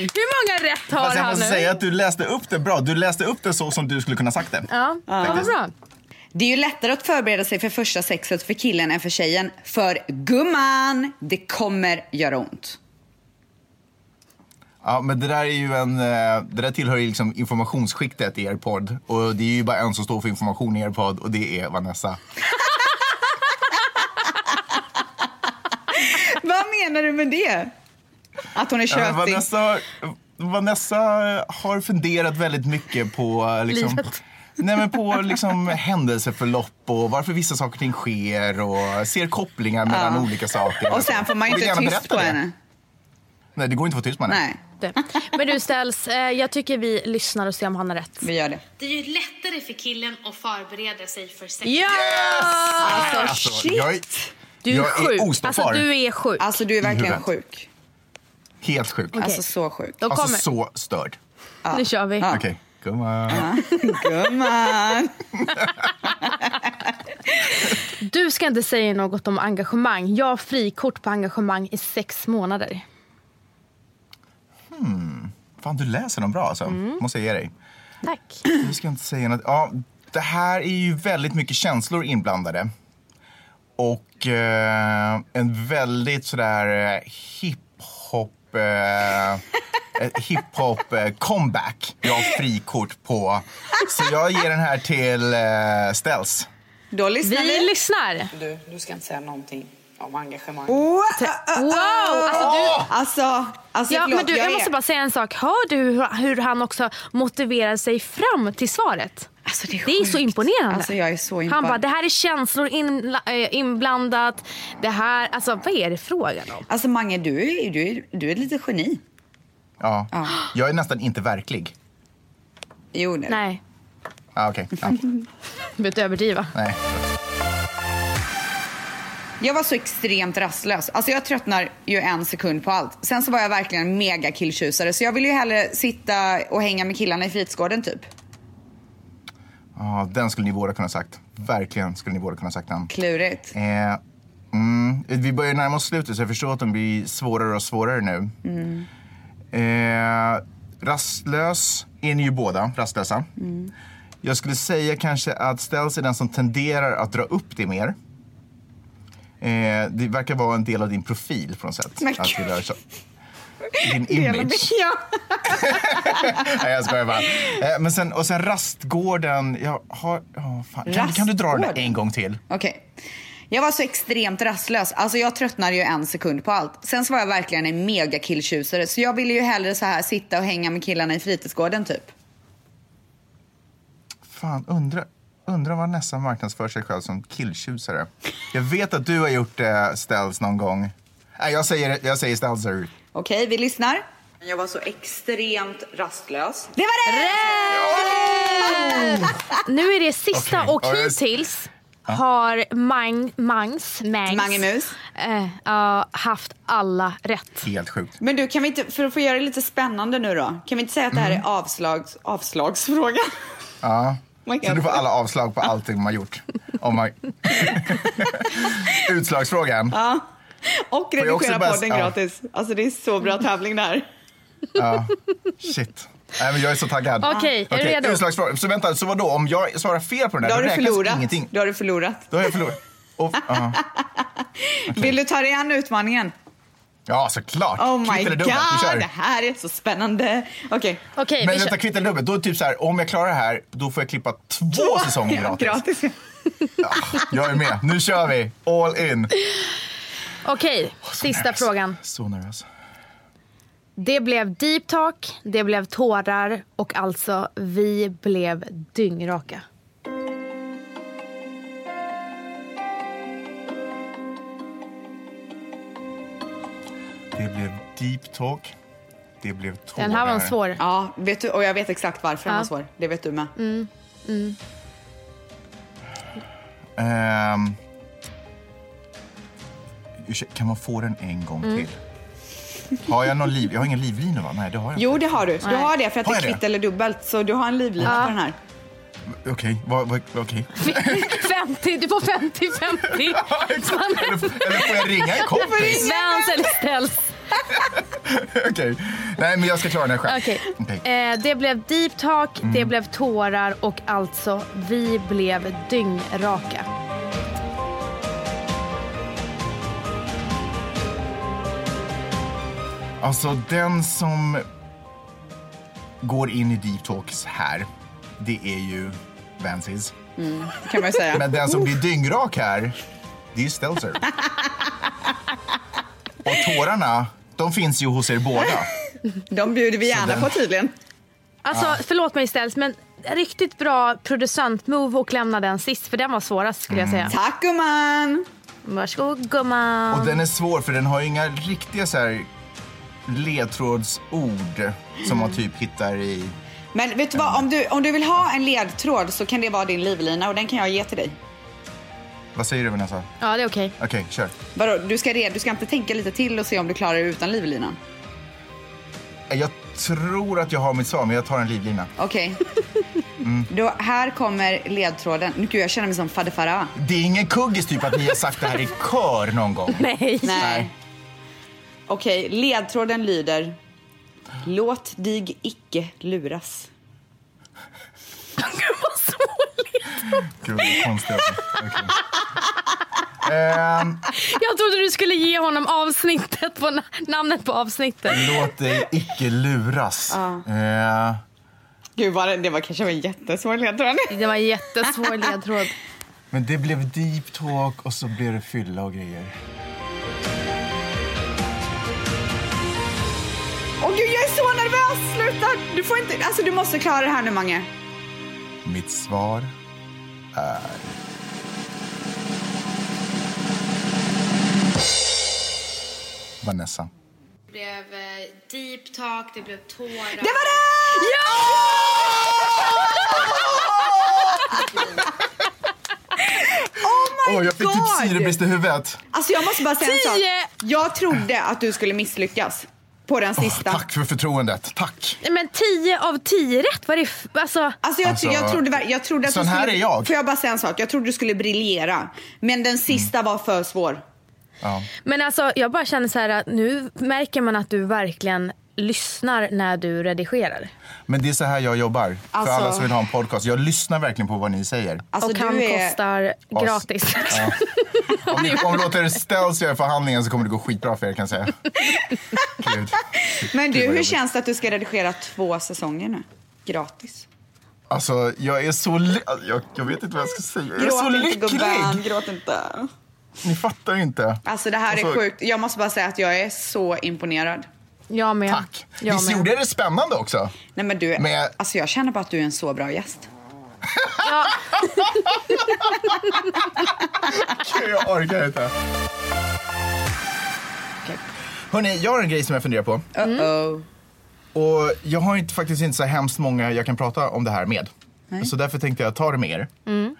[SPEAKER 2] Hur många rätt har
[SPEAKER 3] Fast jag
[SPEAKER 2] han nu?
[SPEAKER 3] måste säga att du läste upp det bra. Du läste upp det så som du skulle kunna sagt det.
[SPEAKER 2] Ja, ja vad
[SPEAKER 3] Faktiskt.
[SPEAKER 2] bra.
[SPEAKER 4] Det är ju lättare att förbereda sig för första sexet för killen än för tjejen. För gumman, det kommer göra ont.
[SPEAKER 3] Ja, men det där är ju en... eh, Det där tillhör ju liksom informationsskiktet i er podd. Och det är ju bara en som står för information i er podd och det är Vanessa.
[SPEAKER 4] Vad menar du med det? Att hon är
[SPEAKER 3] Ja, men
[SPEAKER 4] tjötig?
[SPEAKER 3] Vanessa, Vanessa har funderat väldigt mycket på... eh, Liksom,
[SPEAKER 2] Livet.
[SPEAKER 3] Nej, men på liksom händelseförlopp och varför vissa saker och ting sker och ser kopplingar mellan olika saker.
[SPEAKER 4] och sen får man ju
[SPEAKER 3] Och vill
[SPEAKER 4] inte
[SPEAKER 3] gärna
[SPEAKER 4] tyst på
[SPEAKER 3] berätta det.
[SPEAKER 4] henne.
[SPEAKER 3] Nej, det går inte att få tyst på henne.
[SPEAKER 4] Nej,
[SPEAKER 3] [laughs]
[SPEAKER 2] Men du Ställs, eh, jag tycker vi lyssnar och ser om han har rätt.
[SPEAKER 4] vi gör det.
[SPEAKER 5] Det är ju lättare för killen att förbereda sig för sex.
[SPEAKER 2] Ja!
[SPEAKER 4] Alltså
[SPEAKER 3] Alltså,
[SPEAKER 4] shit!
[SPEAKER 3] jag är,
[SPEAKER 2] Du är
[SPEAKER 3] jag
[SPEAKER 2] sjuk.
[SPEAKER 3] är ostoppbar.
[SPEAKER 2] alltså du är sjuk.
[SPEAKER 4] Alltså du är verkligen
[SPEAKER 3] huvudet.
[SPEAKER 4] sjuk.
[SPEAKER 3] Helt sjuk.
[SPEAKER 4] Alltså så sjuk.
[SPEAKER 2] De
[SPEAKER 3] Alltså
[SPEAKER 2] kommer.
[SPEAKER 3] så störd.
[SPEAKER 2] Nu kör vi.
[SPEAKER 4] Ja.
[SPEAKER 3] Okej, gumman.
[SPEAKER 4] Gumman!
[SPEAKER 2] Du ska inte säga något om engagemang. Jag har frikort på engagemang i sex månader.
[SPEAKER 3] Fan, du läser dem bra alltså.
[SPEAKER 4] Mm.
[SPEAKER 3] Måste jag ge dig.
[SPEAKER 2] Tack.
[SPEAKER 3] Nu ska jag inte säga något. Ja, det här är ju väldigt mycket känslor inblandade. Och eh, en väldigt sådär eh, hiphop... Eh, ett hiphop eh, comeback. Jag har frikort på. Så jag ger den här till eh, Ställs.
[SPEAKER 4] Då lyssnar
[SPEAKER 2] Vi
[SPEAKER 4] vi.
[SPEAKER 2] lyssnar.
[SPEAKER 6] Du, du ska inte säga någonting om engagemang.
[SPEAKER 4] Wow!
[SPEAKER 2] Wow!
[SPEAKER 4] ah,
[SPEAKER 2] Alltså, du,
[SPEAKER 4] Alltså, alltså
[SPEAKER 2] ja,
[SPEAKER 4] förlåt,
[SPEAKER 2] men du, jag
[SPEAKER 4] är-
[SPEAKER 2] måste bara säga en sak. Hör du hur, hur han också motiverar sig fram till svaret?
[SPEAKER 4] Alltså, det är
[SPEAKER 2] så
[SPEAKER 4] sjukt.
[SPEAKER 2] imponerande.
[SPEAKER 4] Alltså, jag är så
[SPEAKER 2] Han
[SPEAKER 4] imponerad.
[SPEAKER 2] bara, det här är känslor inla- eh, inblandat. Det här, alltså vad är det frågan om?
[SPEAKER 4] Alltså Mange, du är, du är, du är ett litet geni.
[SPEAKER 3] Ja. Jag är nästan inte verklig.
[SPEAKER 4] Jo, nu.
[SPEAKER 2] Nej,
[SPEAKER 3] Ah, Okej. Ja,
[SPEAKER 2] du behöver inte överdriva.
[SPEAKER 3] nej.
[SPEAKER 4] Jag var så extremt rastlös. Alltså jag tröttnar ju en sekund på allt. Sen så var jag verkligen mega killtjusare så jag ville ju hellre sitta och hänga med killarna i fritidsgården typ.
[SPEAKER 3] Ja, den skulle ni båda kunna sagt. Verkligen skulle ni båda kunna sagt den.
[SPEAKER 4] Klurigt.
[SPEAKER 3] Eh, mm, vi börjar närma oss slutet så jag förstår att de blir svårare och svårare nu. Eh, rastlös är ni ju båda, rastlösa. Jag skulle säga kanske att Ställs är den som tenderar att dra upp det mer. Eh, det verkar vara en del av din profil på något sätt.
[SPEAKER 4] Men
[SPEAKER 3] att
[SPEAKER 4] gud.
[SPEAKER 3] det rör sig-
[SPEAKER 4] [laughs]
[SPEAKER 3] din image.
[SPEAKER 4] Ja.
[SPEAKER 3] Nej, jag skojar bara. Eh, men sen, och sen rastgården. Jag har, ja, fan. Kan, kan du dra den där
[SPEAKER 4] Rastgården?
[SPEAKER 3] en gång till?
[SPEAKER 4] Okej. Jag var så extremt rastlös. Alltså jag tröttnade ju en sekund på allt. Sen så var jag verkligen en mega killtjusare så jag ville ju hellre så här sitta och hänga med killarna i fritidsgården typ.
[SPEAKER 3] Fan, undrar undra vad Nessa marknadsför sig själv som killtjusare. Jag vet att du har gjort det, Ställs, någon gång. Nej, jag säger, jag säger Ställs. är-
[SPEAKER 4] Okej, vi lyssnar.
[SPEAKER 6] Jag var så extremt rastlös.
[SPEAKER 4] Det var det!
[SPEAKER 2] Nu är det sista
[SPEAKER 3] Okej.
[SPEAKER 2] och
[SPEAKER 3] Ja, jag-
[SPEAKER 2] hittills har Mang, Mangs, Mangs,
[SPEAKER 4] Mange Mus.
[SPEAKER 2] eh, ja, haft alla rätt.
[SPEAKER 3] Helt sjukt.
[SPEAKER 4] Men du, kan vi inte, för att få göra det lite spännande nu då. Kan vi inte säga att det
[SPEAKER 3] Mm.
[SPEAKER 4] här är avslags, avslagsfråga?
[SPEAKER 3] Ja.
[SPEAKER 4] My
[SPEAKER 3] Så
[SPEAKER 4] God.
[SPEAKER 3] du får alla avslag på allting man har gjort. Om
[SPEAKER 4] [laughs]
[SPEAKER 3] man... Utslagsfrågan.
[SPEAKER 4] Och
[SPEAKER 3] jag också
[SPEAKER 4] redigera
[SPEAKER 3] bara-
[SPEAKER 4] podden
[SPEAKER 3] ja. Mm.
[SPEAKER 4] gratis. Alltså det är så bra tävling det här.
[SPEAKER 3] Shit. Nej, men jag är så taggad.
[SPEAKER 2] Okej, är du redo?
[SPEAKER 3] Utslagsfråga. Så vänta, så vadå? Om jag svarar fel på den där,
[SPEAKER 4] Då har du
[SPEAKER 3] räknas
[SPEAKER 4] förlorat.
[SPEAKER 3] ingenting.
[SPEAKER 4] Då har du förlorat.
[SPEAKER 3] Då har jag förlorat. Och, ja.
[SPEAKER 4] Vill du ta dig an utmaningen?
[SPEAKER 3] ja, såklart.
[SPEAKER 4] Oh
[SPEAKER 3] Kvitt
[SPEAKER 4] my
[SPEAKER 3] eller
[SPEAKER 4] god,
[SPEAKER 3] dubbelt, vi kör.
[SPEAKER 4] det här är så spännande. Okej.
[SPEAKER 2] Okej,
[SPEAKER 3] Men
[SPEAKER 2] vi
[SPEAKER 3] vänta,
[SPEAKER 2] kör.
[SPEAKER 3] kvitt eller dubbelt. Då är det typ så här, om jag klarar det här, då får jag klippa två säsonger
[SPEAKER 4] Ja,
[SPEAKER 3] gratis. Jag är med. Nu kör vi. All in.
[SPEAKER 2] Okej, sista
[SPEAKER 3] nervös.
[SPEAKER 2] frågan.
[SPEAKER 3] Så nervös.
[SPEAKER 2] Det blev deep talk, det blev tårar och alltså vi blev dyngraka.
[SPEAKER 3] Det blev deep talk. Det blev tårar.
[SPEAKER 2] Den här var en svår.
[SPEAKER 4] Ja, vet du, och jag vet exakt varför den var svår. Det vet du med.
[SPEAKER 3] Ehm. Ursäkta, kan man få den en gång
[SPEAKER 2] Mm.
[SPEAKER 3] till? Har jag någon liv? Jag har ingen livlina va? Nej, det har jag
[SPEAKER 4] Jo,
[SPEAKER 3] inte.
[SPEAKER 4] det har du. Du
[SPEAKER 2] Nej.
[SPEAKER 4] har det för att
[SPEAKER 3] Har
[SPEAKER 4] det är
[SPEAKER 3] jag det?
[SPEAKER 4] kvitt eller dubbelt. Så du har en livlina på den här.
[SPEAKER 3] Okej, vad- vad-
[SPEAKER 2] [laughs]
[SPEAKER 3] okej. [laughs]
[SPEAKER 2] 50, du får 50-50.
[SPEAKER 3] eller, eller får jag ringa en kompis?
[SPEAKER 2] Svens eller ställs.
[SPEAKER 3] [laughs] Okej. Nej, men jag ska klara den här själv.
[SPEAKER 2] Okej.
[SPEAKER 3] Okej.
[SPEAKER 2] Eh, det blev deep talk, det blev tårar och alltså vi blev dyngraka.
[SPEAKER 3] Alltså den som går in i deep talks här, det är ju Vansis.
[SPEAKER 4] Kan man ju
[SPEAKER 3] [laughs]
[SPEAKER 4] säga.
[SPEAKER 3] Men den som blir dyngrak här, det är Stelzer. Och tårarna, de finns ju hos er båda.
[SPEAKER 4] De bjuder vi gärna
[SPEAKER 3] den-
[SPEAKER 4] på tydligen.
[SPEAKER 2] Alltså förlåt mig ställs men riktigt bra producentmove och lämna den sist för den var svårast skulle jag säga.
[SPEAKER 4] Tack gumman!
[SPEAKER 2] Varsågod gumman.
[SPEAKER 3] Och den är svår för den har ju inga riktiga så här ledtrådsord som man typ hittar i...
[SPEAKER 4] Men vet du vad, om du, om du vill ha en ledtråd så kan det vara din livlina och den kan jag ge till dig.
[SPEAKER 3] Vad säger du Vanessa?
[SPEAKER 2] Ja det är okej.
[SPEAKER 3] Okej, kör.
[SPEAKER 4] Vadå, du ska, re- du ska inte tänka lite till och se om du klarar det utan livlinan?
[SPEAKER 3] Jag tror att jag har mitt svar, men jag tar en livlina.
[SPEAKER 4] Okej. Då, här kommer ledtråden. Nu gud, jag känner mig som Fader Farah.
[SPEAKER 3] Det är ingen kuggis typ att ni har sagt det här i kör någon gång.
[SPEAKER 2] Nej.
[SPEAKER 4] Nej. Okej, ledtråden lyder. Låt dig icke luras.
[SPEAKER 3] Gud, vad konstigt. Okej. Ehm,
[SPEAKER 2] Jag trodde du skulle ge honom avsnittet på na- namnet på avsnittet.
[SPEAKER 3] låt dig icke luras. Ehm,
[SPEAKER 4] Gud, var det, det var kanske var en jättesvår ledtråd.
[SPEAKER 2] Det var en jättesvår ledtråd.
[SPEAKER 3] men det blev deep talk och så blev det fylla och grejer.
[SPEAKER 4] Åh gud, jag är så nervös! Sluta! Du får inte... Alltså, du måste klara det här nu, Mange.
[SPEAKER 3] Mitt svar är...
[SPEAKER 4] Oh
[SPEAKER 3] Vanessa.
[SPEAKER 2] Det blev
[SPEAKER 5] eh,
[SPEAKER 2] deep talk, det blev tårar.
[SPEAKER 4] Det var det!
[SPEAKER 3] Åh, jag fick typ
[SPEAKER 4] God!
[SPEAKER 3] syrebrist i huvudet.
[SPEAKER 4] Alltså, jag måste bara säga en
[SPEAKER 2] Tio!
[SPEAKER 4] sak. Jag trodde att du skulle misslyckas på den sista.
[SPEAKER 3] Tack för förtroendet. Tack.
[SPEAKER 2] Nej, Men 10 av 10 rätt var det... F- alltså,
[SPEAKER 4] Alltså jag,
[SPEAKER 3] Alltså,
[SPEAKER 4] jag trodde, ver- jag trodde att
[SPEAKER 3] sån
[SPEAKER 4] du skulle,
[SPEAKER 3] här är jag. Mm.
[SPEAKER 4] Får jag bara säga en sak? Jag trodde du skulle briljera. Men den sista var för svår.
[SPEAKER 3] Ja.
[SPEAKER 2] men alltså jag bara känner så här att nu märker man att du verkligen lyssnar när du redigerar.
[SPEAKER 3] Men det är så här jag jobbar.
[SPEAKER 4] Alltså-
[SPEAKER 3] För alla som vill ha en podcast. Jag lyssnar verkligen på vad ni säger.
[SPEAKER 4] Alltså,
[SPEAKER 2] och han
[SPEAKER 4] du är-
[SPEAKER 2] kostar
[SPEAKER 3] As-
[SPEAKER 2] gratis. [laughs]
[SPEAKER 3] Om ni om ni låter Stels göra förhandlingen så kommer det gå skitbra för er kan jag säga. Gud.
[SPEAKER 4] Men
[SPEAKER 3] vad
[SPEAKER 4] du, hur
[SPEAKER 3] jobbigt.
[SPEAKER 4] känns det att du ska redigera två säsonger nu? Gratis.
[SPEAKER 3] Alltså jag är så... Li- jag, jag vet inte vad jag ska säga. Jag är
[SPEAKER 4] Gråt
[SPEAKER 3] så
[SPEAKER 4] inte
[SPEAKER 3] lycklig!
[SPEAKER 4] gubben, gråt inte.
[SPEAKER 3] Ni fattar ju inte.
[SPEAKER 4] Alltså det här
[SPEAKER 3] Alltså-
[SPEAKER 4] är sjukt. Jag måste bara säga att jag är så imponerad.
[SPEAKER 2] Jag med.
[SPEAKER 3] Tack!
[SPEAKER 2] Jag
[SPEAKER 3] Visst
[SPEAKER 2] med.
[SPEAKER 3] gjorde jag det spännande också?
[SPEAKER 4] Nej men du,
[SPEAKER 3] Men jag-
[SPEAKER 4] alltså jag känner bara att du är en så bra gäst.
[SPEAKER 2] Ja,
[SPEAKER 3] Gud, jag orkar inte. Hörni, jag har en grej som jag funderar på.
[SPEAKER 2] Mm.
[SPEAKER 4] Uh-oh.
[SPEAKER 3] Och jag har inte, faktiskt inte så hemskt många jag kan prata om det här med. Så därför tänkte jag ta det med er.
[SPEAKER 4] Mm.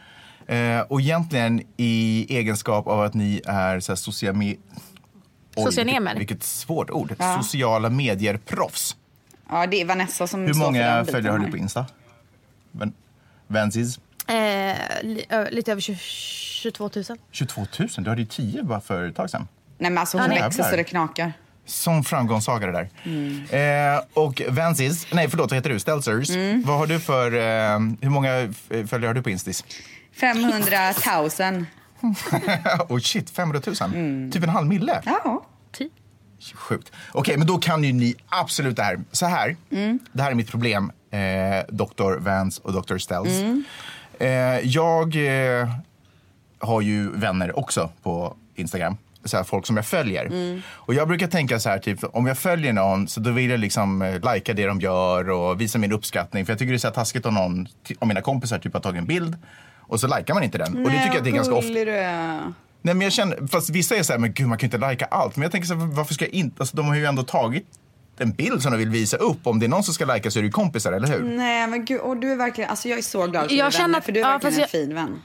[SPEAKER 3] Eh, och egentligen i egenskap av att ni är så här sociami- Oj,
[SPEAKER 2] Socionemer.
[SPEAKER 3] Vilket, vilket svårt ord. Sociala medier-proffs.
[SPEAKER 4] Ja det är Vanessa som
[SPEAKER 3] Hur
[SPEAKER 4] står för den
[SPEAKER 3] många
[SPEAKER 4] biten
[SPEAKER 3] följare har
[SPEAKER 4] här.
[SPEAKER 3] du på Insta? Ven- Vensis?
[SPEAKER 2] eh, li- ö, lite över 20, 22 000.
[SPEAKER 3] 22 000? Du hade ju 10 bara för ett tag sedan.
[SPEAKER 4] Nej men alltså hon
[SPEAKER 3] nej.
[SPEAKER 4] växer så det Mm. knakar.
[SPEAKER 3] Som framgångssaga det där. Eh, och Vensis, nej förlåt vad heter du? Stelzers.
[SPEAKER 4] Mm.
[SPEAKER 3] Vad har du för, eh, hur många f- följare har du på Instis?
[SPEAKER 4] 500 000.
[SPEAKER 3] [laughs] oh shit, 500 000? Typ en halv mille?
[SPEAKER 4] Ja.
[SPEAKER 2] Ti-
[SPEAKER 3] Sjukt. Okej, men då kan ju ni absolut det här. Så här, det här är mitt problem, eh, Dr. Vance och Dr. Stells. Eh, jag eh, har ju vänner också på Instagram. så här, folk som jag följer. Och jag brukar tänka så här, typ, om jag följer någon så då vill jag liksom eh, likea det de gör och visa min uppskattning. För jag tycker det är så här taskigt om någon, ty- om mina kompisar typ har tagit en bild och så likar man inte den. och det tycker jag det är ganska ofta.
[SPEAKER 1] gullig du är.
[SPEAKER 3] Nej, men jag känner, fast vissa är så här, men gud man kan ju inte lika allt. Men jag tänker så här, varför ska jag inte, alltså de har ju ändå tagit en bild som de vill visa upp. Om det är någon som ska lika så är det ju kompisar, eller hur?
[SPEAKER 4] Mm,
[SPEAKER 1] Nej men gud, och du är verkligen, alltså jag är så glad för
[SPEAKER 2] Jag
[SPEAKER 1] jag
[SPEAKER 2] känner
[SPEAKER 1] vänner,
[SPEAKER 2] att-
[SPEAKER 1] för du är
[SPEAKER 2] ja,
[SPEAKER 1] verkligen en
[SPEAKER 2] fast
[SPEAKER 1] fin vän.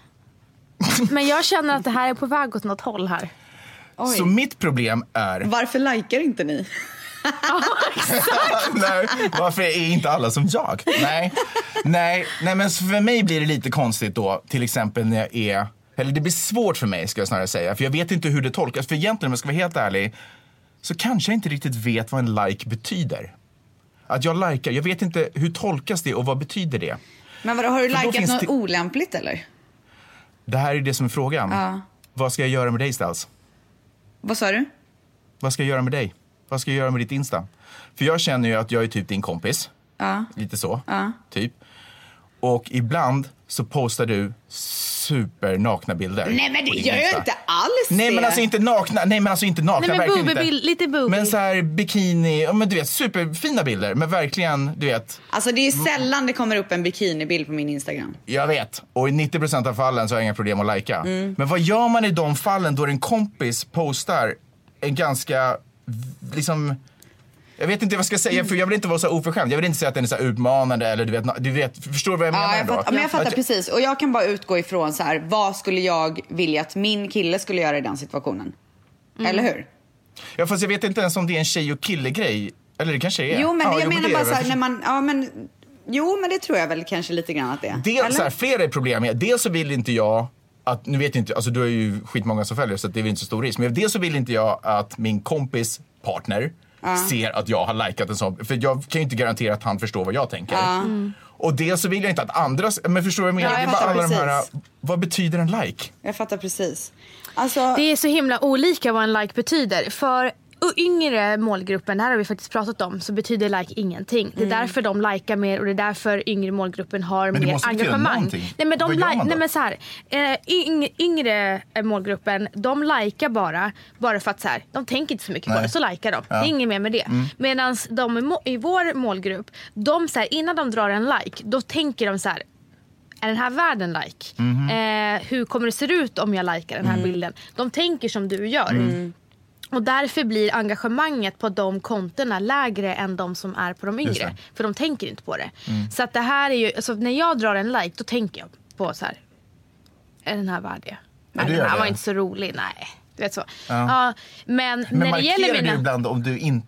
[SPEAKER 2] Men jag känner att det här är på väg åt något håll här.
[SPEAKER 1] Oj.
[SPEAKER 3] Så mitt problem är...
[SPEAKER 1] Varför likar inte ni?
[SPEAKER 3] [laughs] nej, varför är inte alla som jag? Nej. nej, nej, men för mig blir det lite konstigt då, till exempel när jag är... Eller det blir svårt för mig, ska jag snarare säga. För jag vet inte hur det tolkas. För egentligen, om jag ska vara helt ärlig, så kanske jag inte riktigt vet vad en like betyder. Att jag likar, jag vet inte hur tolkas det och vad betyder det?
[SPEAKER 1] Men vadå, har du
[SPEAKER 3] För då
[SPEAKER 1] likat
[SPEAKER 3] finns
[SPEAKER 1] något
[SPEAKER 3] det-
[SPEAKER 1] olämpligt eller?
[SPEAKER 3] Det här är det som är frågan. Vad ska jag göra med dig, Stas?
[SPEAKER 1] Vad sa du?
[SPEAKER 3] Vad ska jag göra med dig? Vad ska jag göra med ditt Insta? För jag känner ju att jag är typ din kompis. Lite så. Typ. Och ibland så postar du supernakna bilder.
[SPEAKER 1] Nej men det
[SPEAKER 3] på din
[SPEAKER 1] gör jag
[SPEAKER 3] Insta.
[SPEAKER 1] inte alls
[SPEAKER 3] Nej
[SPEAKER 1] det.
[SPEAKER 3] men alltså inte nakna, nej men alltså inte nakna,
[SPEAKER 2] Nej, men
[SPEAKER 3] verkligen
[SPEAKER 2] boobybild-
[SPEAKER 3] inte.
[SPEAKER 2] lite booby.
[SPEAKER 3] Men så här bikini, ja, men du vet superfina bilder. Men verkligen, du vet,
[SPEAKER 1] Alltså det är sällan det kommer upp en bikinibild på min Instagram.
[SPEAKER 3] jag vet. Och i 90% av fallen så har jag inga problem att lajka.
[SPEAKER 1] Mm.
[SPEAKER 3] Men vad gör man i de fallen då en kompis postar en ganska, v- liksom, jag vet inte vad jag ska säga för jag vill inte vara så oförskämd. Jag vill inte säga att den är så här utmanande eller du vet, na- du vet förstår du vad jag menar
[SPEAKER 1] Ja, jag
[SPEAKER 3] då?
[SPEAKER 1] fattar, men jag fattar
[SPEAKER 3] Att-
[SPEAKER 1] precis. Och jag kan bara utgå ifrån så här, vad skulle jag vilja att min kille skulle göra i den situationen?
[SPEAKER 2] Mm.
[SPEAKER 1] Eller hur?
[SPEAKER 3] Ja, fast jag vet inte ens om det är en tjej och kille grej. Eller det kanske är.
[SPEAKER 1] Jo men
[SPEAKER 3] Ja,
[SPEAKER 1] jag
[SPEAKER 3] det
[SPEAKER 1] menar
[SPEAKER 3] är
[SPEAKER 1] bara
[SPEAKER 3] det
[SPEAKER 1] så
[SPEAKER 3] väl.
[SPEAKER 1] här, när man, ja men, jo men det tror jag väl kanske lite grann att det är. Eller?
[SPEAKER 3] Dels så här, flera är problem med. Dels så vill inte jag att, nu vet jag inte, alltså du har ju skitmånga som följer så att det är väl inte så stor risk. Men dels så vill inte jag att min kompis partner ser att jag har likat en sån. För jag kan ju inte garantera att han förstår vad jag tänker.
[SPEAKER 2] Mm.
[SPEAKER 3] Och dels så vill jag inte att andra, s- men förstår du vad jag menar?
[SPEAKER 1] Ja, jag
[SPEAKER 3] det är bara
[SPEAKER 1] fattar
[SPEAKER 3] alla de här,
[SPEAKER 1] precis.
[SPEAKER 3] vad betyder en like?
[SPEAKER 1] Jag fattar precis. Alltså,
[SPEAKER 2] Det är så himla olika vad en like betyder. För yngre målgruppen, det här har vi faktiskt pratat om, så betyder like ingenting. Det är därför de likar mer och det är därför yngre målgruppen har
[SPEAKER 3] Mm. Men det
[SPEAKER 2] mer
[SPEAKER 3] måste betyda
[SPEAKER 2] engagemang.
[SPEAKER 3] någonting.
[SPEAKER 2] Nej men, de
[SPEAKER 3] Vad gör man
[SPEAKER 2] li-
[SPEAKER 3] då?
[SPEAKER 2] nej, men så här, eh, yng- yngre eh, målgruppen, de likar bara, bara för att så här, de tänker inte så mycket på
[SPEAKER 3] Nej. Mm.
[SPEAKER 2] det, så likar de. Det är inget mer med det. Medan de i må- i vår målgrupp, de så här, innan de drar en like, då tänker de så här, är den här värd en like?
[SPEAKER 3] Mhm.
[SPEAKER 2] Eh, hur kommer det se ut om jag likar den här
[SPEAKER 3] Mm.
[SPEAKER 2] bilden? De tänker som du gör. Och därför blir engagemanget på de kontona lägre än de som är på de
[SPEAKER 3] Just
[SPEAKER 2] yngre.
[SPEAKER 3] det. Mm.
[SPEAKER 2] För de tänker inte på det. Så att det här är ju, alltså när jag drar en like då tänker jag på så här. Är den här värd det? Nej,
[SPEAKER 3] du
[SPEAKER 2] den
[SPEAKER 3] gör
[SPEAKER 2] här
[SPEAKER 3] det.
[SPEAKER 2] var inte så rolig. Nej. Du vet så. Ja.
[SPEAKER 3] Ja.
[SPEAKER 2] men,
[SPEAKER 3] Men
[SPEAKER 2] när det
[SPEAKER 3] markerar
[SPEAKER 2] gäller mina...
[SPEAKER 3] du ibland om du inte,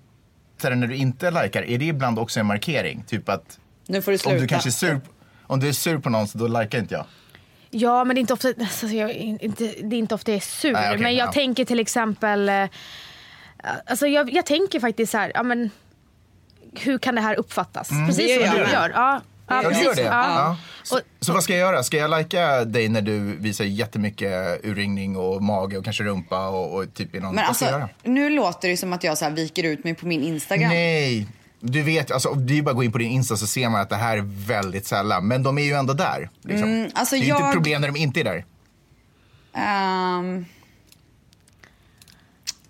[SPEAKER 3] när du inte likar, är det ibland också en markering? Typ att
[SPEAKER 1] nu får du
[SPEAKER 3] om
[SPEAKER 1] sluta.
[SPEAKER 3] du kanske är sur, om du är sur på någon så då likar inte jag.
[SPEAKER 2] Ja, men det är inte ofta, alltså, jag, är inte, det är inte ofta jag är sur.
[SPEAKER 3] Nej, okej,
[SPEAKER 2] men jag
[SPEAKER 3] ja.
[SPEAKER 2] tänker till exempel... eh, Alltså, jag, jag tänker faktiskt så här, ja, men, hur kan det här uppfattas?
[SPEAKER 3] Mm.
[SPEAKER 1] Det
[SPEAKER 2] Precis
[SPEAKER 1] gör
[SPEAKER 2] som du
[SPEAKER 1] jag.
[SPEAKER 2] gör. Ja, ja,
[SPEAKER 3] Ja, du
[SPEAKER 2] precis.
[SPEAKER 3] gör det?
[SPEAKER 2] Ja.
[SPEAKER 3] Ja. Så,
[SPEAKER 2] Och-
[SPEAKER 3] så vad ska jag göra? Ska jag lika dig när du visar jättemycket urringning och mage och kanske rumpa och, och typ i någon...
[SPEAKER 1] Men
[SPEAKER 3] vad ska jag
[SPEAKER 1] alltså,
[SPEAKER 3] göra?
[SPEAKER 1] nu låter det som att jag så här viker ut mig på min Instagram.
[SPEAKER 3] Nej! Du vet, alltså, det är ju bara att gå in på din Insta så ser man att det här är väldigt sällan. Men de är ju ändå där. Liksom.
[SPEAKER 1] alltså
[SPEAKER 3] det är ju inte
[SPEAKER 1] jag-
[SPEAKER 3] ett problem när de inte är där.
[SPEAKER 1] Ehm,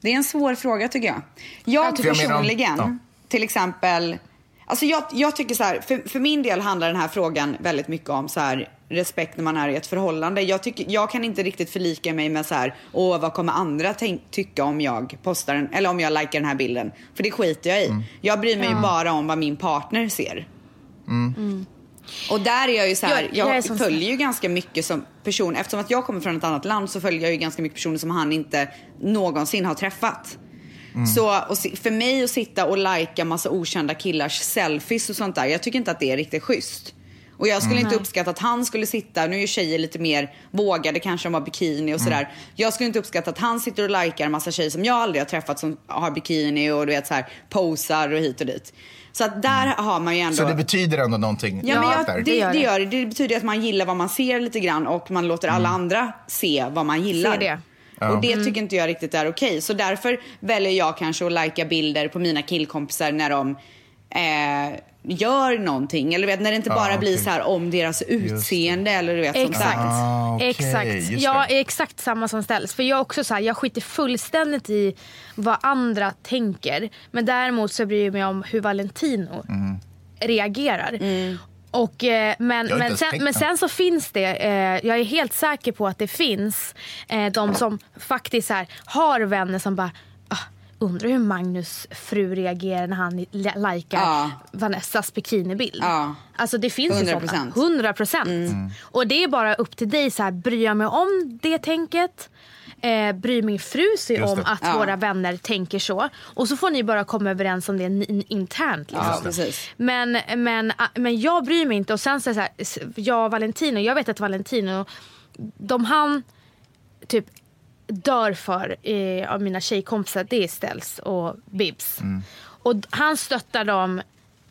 [SPEAKER 1] det är en svår fråga tycker jag.
[SPEAKER 3] Jag
[SPEAKER 1] Jag
[SPEAKER 3] tycker- jag menar om-
[SPEAKER 1] personligen,
[SPEAKER 3] ja.
[SPEAKER 1] till exempel, alltså jag, jag tycker så här, för, för min del handlar den här frågan väldigt mycket om så här, respekt när man är i ett förhållande. Jag, tycker, jag kan inte riktigt förlika mig med så här, åh vad kommer andra tänk, tycka om jag postar den, eller om jag likar den här bilden. För det skiter jag i. Jag bryr mig ju bara om vad min partner ser. Och där är jag ju så här,
[SPEAKER 2] Mm. Jag-
[SPEAKER 1] jag,
[SPEAKER 2] jag är som-
[SPEAKER 1] följer ju ganska mycket som person, eftersom att jag kommer från ett annat land så följer jag ju ganska mycket personer som han inte någonsin har träffat. Så och si- för mig att sitta och lajka massa okända killars selfies och sånt där, jag tycker inte att det är riktigt schysst. Och jag skulle
[SPEAKER 3] Mm.
[SPEAKER 1] inte uppskatta att han skulle sitta, nu är ju tjejer lite mer vågade kanske om har bikini och sådär. Jag skulle inte uppskatta att han sitter och likar en massa tjejer som jag aldrig har träffat som har bikini och du vet så här posar och hit och dit. Så att där har man ju ändå...
[SPEAKER 3] Så det betyder ändå någonting.
[SPEAKER 1] Ja, men
[SPEAKER 2] Ja,
[SPEAKER 3] allt där.
[SPEAKER 1] jag, det,
[SPEAKER 2] det gör
[SPEAKER 1] det gör det. Det betyder att man gillar vad man ser lite grann och man låter alla andra se vad man gillar.
[SPEAKER 2] Ser det.
[SPEAKER 1] Och det tycker inte jag riktigt är okej. Så därför väljer jag kanske att lajka bilder på mina killkompisar när de eh, gör någonting. Eller du vet, när det inte
[SPEAKER 3] Ja,
[SPEAKER 1] bara blir
[SPEAKER 3] Ah, okej.
[SPEAKER 1] så här om deras utseende eller du vet sånt
[SPEAKER 2] Exakt.
[SPEAKER 1] där.
[SPEAKER 3] Ah, okej, just
[SPEAKER 2] exakt.
[SPEAKER 3] det.
[SPEAKER 2] Jag är exakt samma som ställs. För jag är också så här, jag skiter fullständigt i vad andra tänker. Men däremot så bryr jag mig om hur Valentino
[SPEAKER 3] Mm.
[SPEAKER 2] reagerar.
[SPEAKER 1] Mm.
[SPEAKER 2] Och, eh, men,
[SPEAKER 3] inte
[SPEAKER 2] men,
[SPEAKER 3] ens
[SPEAKER 2] sen,
[SPEAKER 3] tänkt
[SPEAKER 2] men
[SPEAKER 3] på.
[SPEAKER 2] sen så finns det, eh, jag är helt säker på att det finns eh, de som faktiskt så här, har vänner som bara "Ah, Undrar hur Magnus fru reagerar när han li- likar
[SPEAKER 1] Ja.
[SPEAKER 2] Vanessas bikinibild.
[SPEAKER 1] Ja.
[SPEAKER 2] Alltså det finns ju
[SPEAKER 1] 100%.
[SPEAKER 2] sådana. 100 procent.
[SPEAKER 1] Mm.
[SPEAKER 3] Mm.
[SPEAKER 2] Och det är bara upp till dig. Så här, bryr jag mig om det tänket? Eh, bryr min fru sig
[SPEAKER 3] Just
[SPEAKER 2] om
[SPEAKER 3] det.
[SPEAKER 2] att
[SPEAKER 1] Ja.
[SPEAKER 2] våra vänner tänker så? Och så får ni bara komma överens om det ni- internt. Liksom.
[SPEAKER 1] Ja, precis.
[SPEAKER 2] Men, men, men jag bryr mig inte. Och sen så är det så här, s- jag och Valentino, jag vet att Valentino, de han typ dör för eh, av mina tjejkompisar, det är Ställs och Bibs.
[SPEAKER 3] Mm.
[SPEAKER 2] Och d- han stöttar dem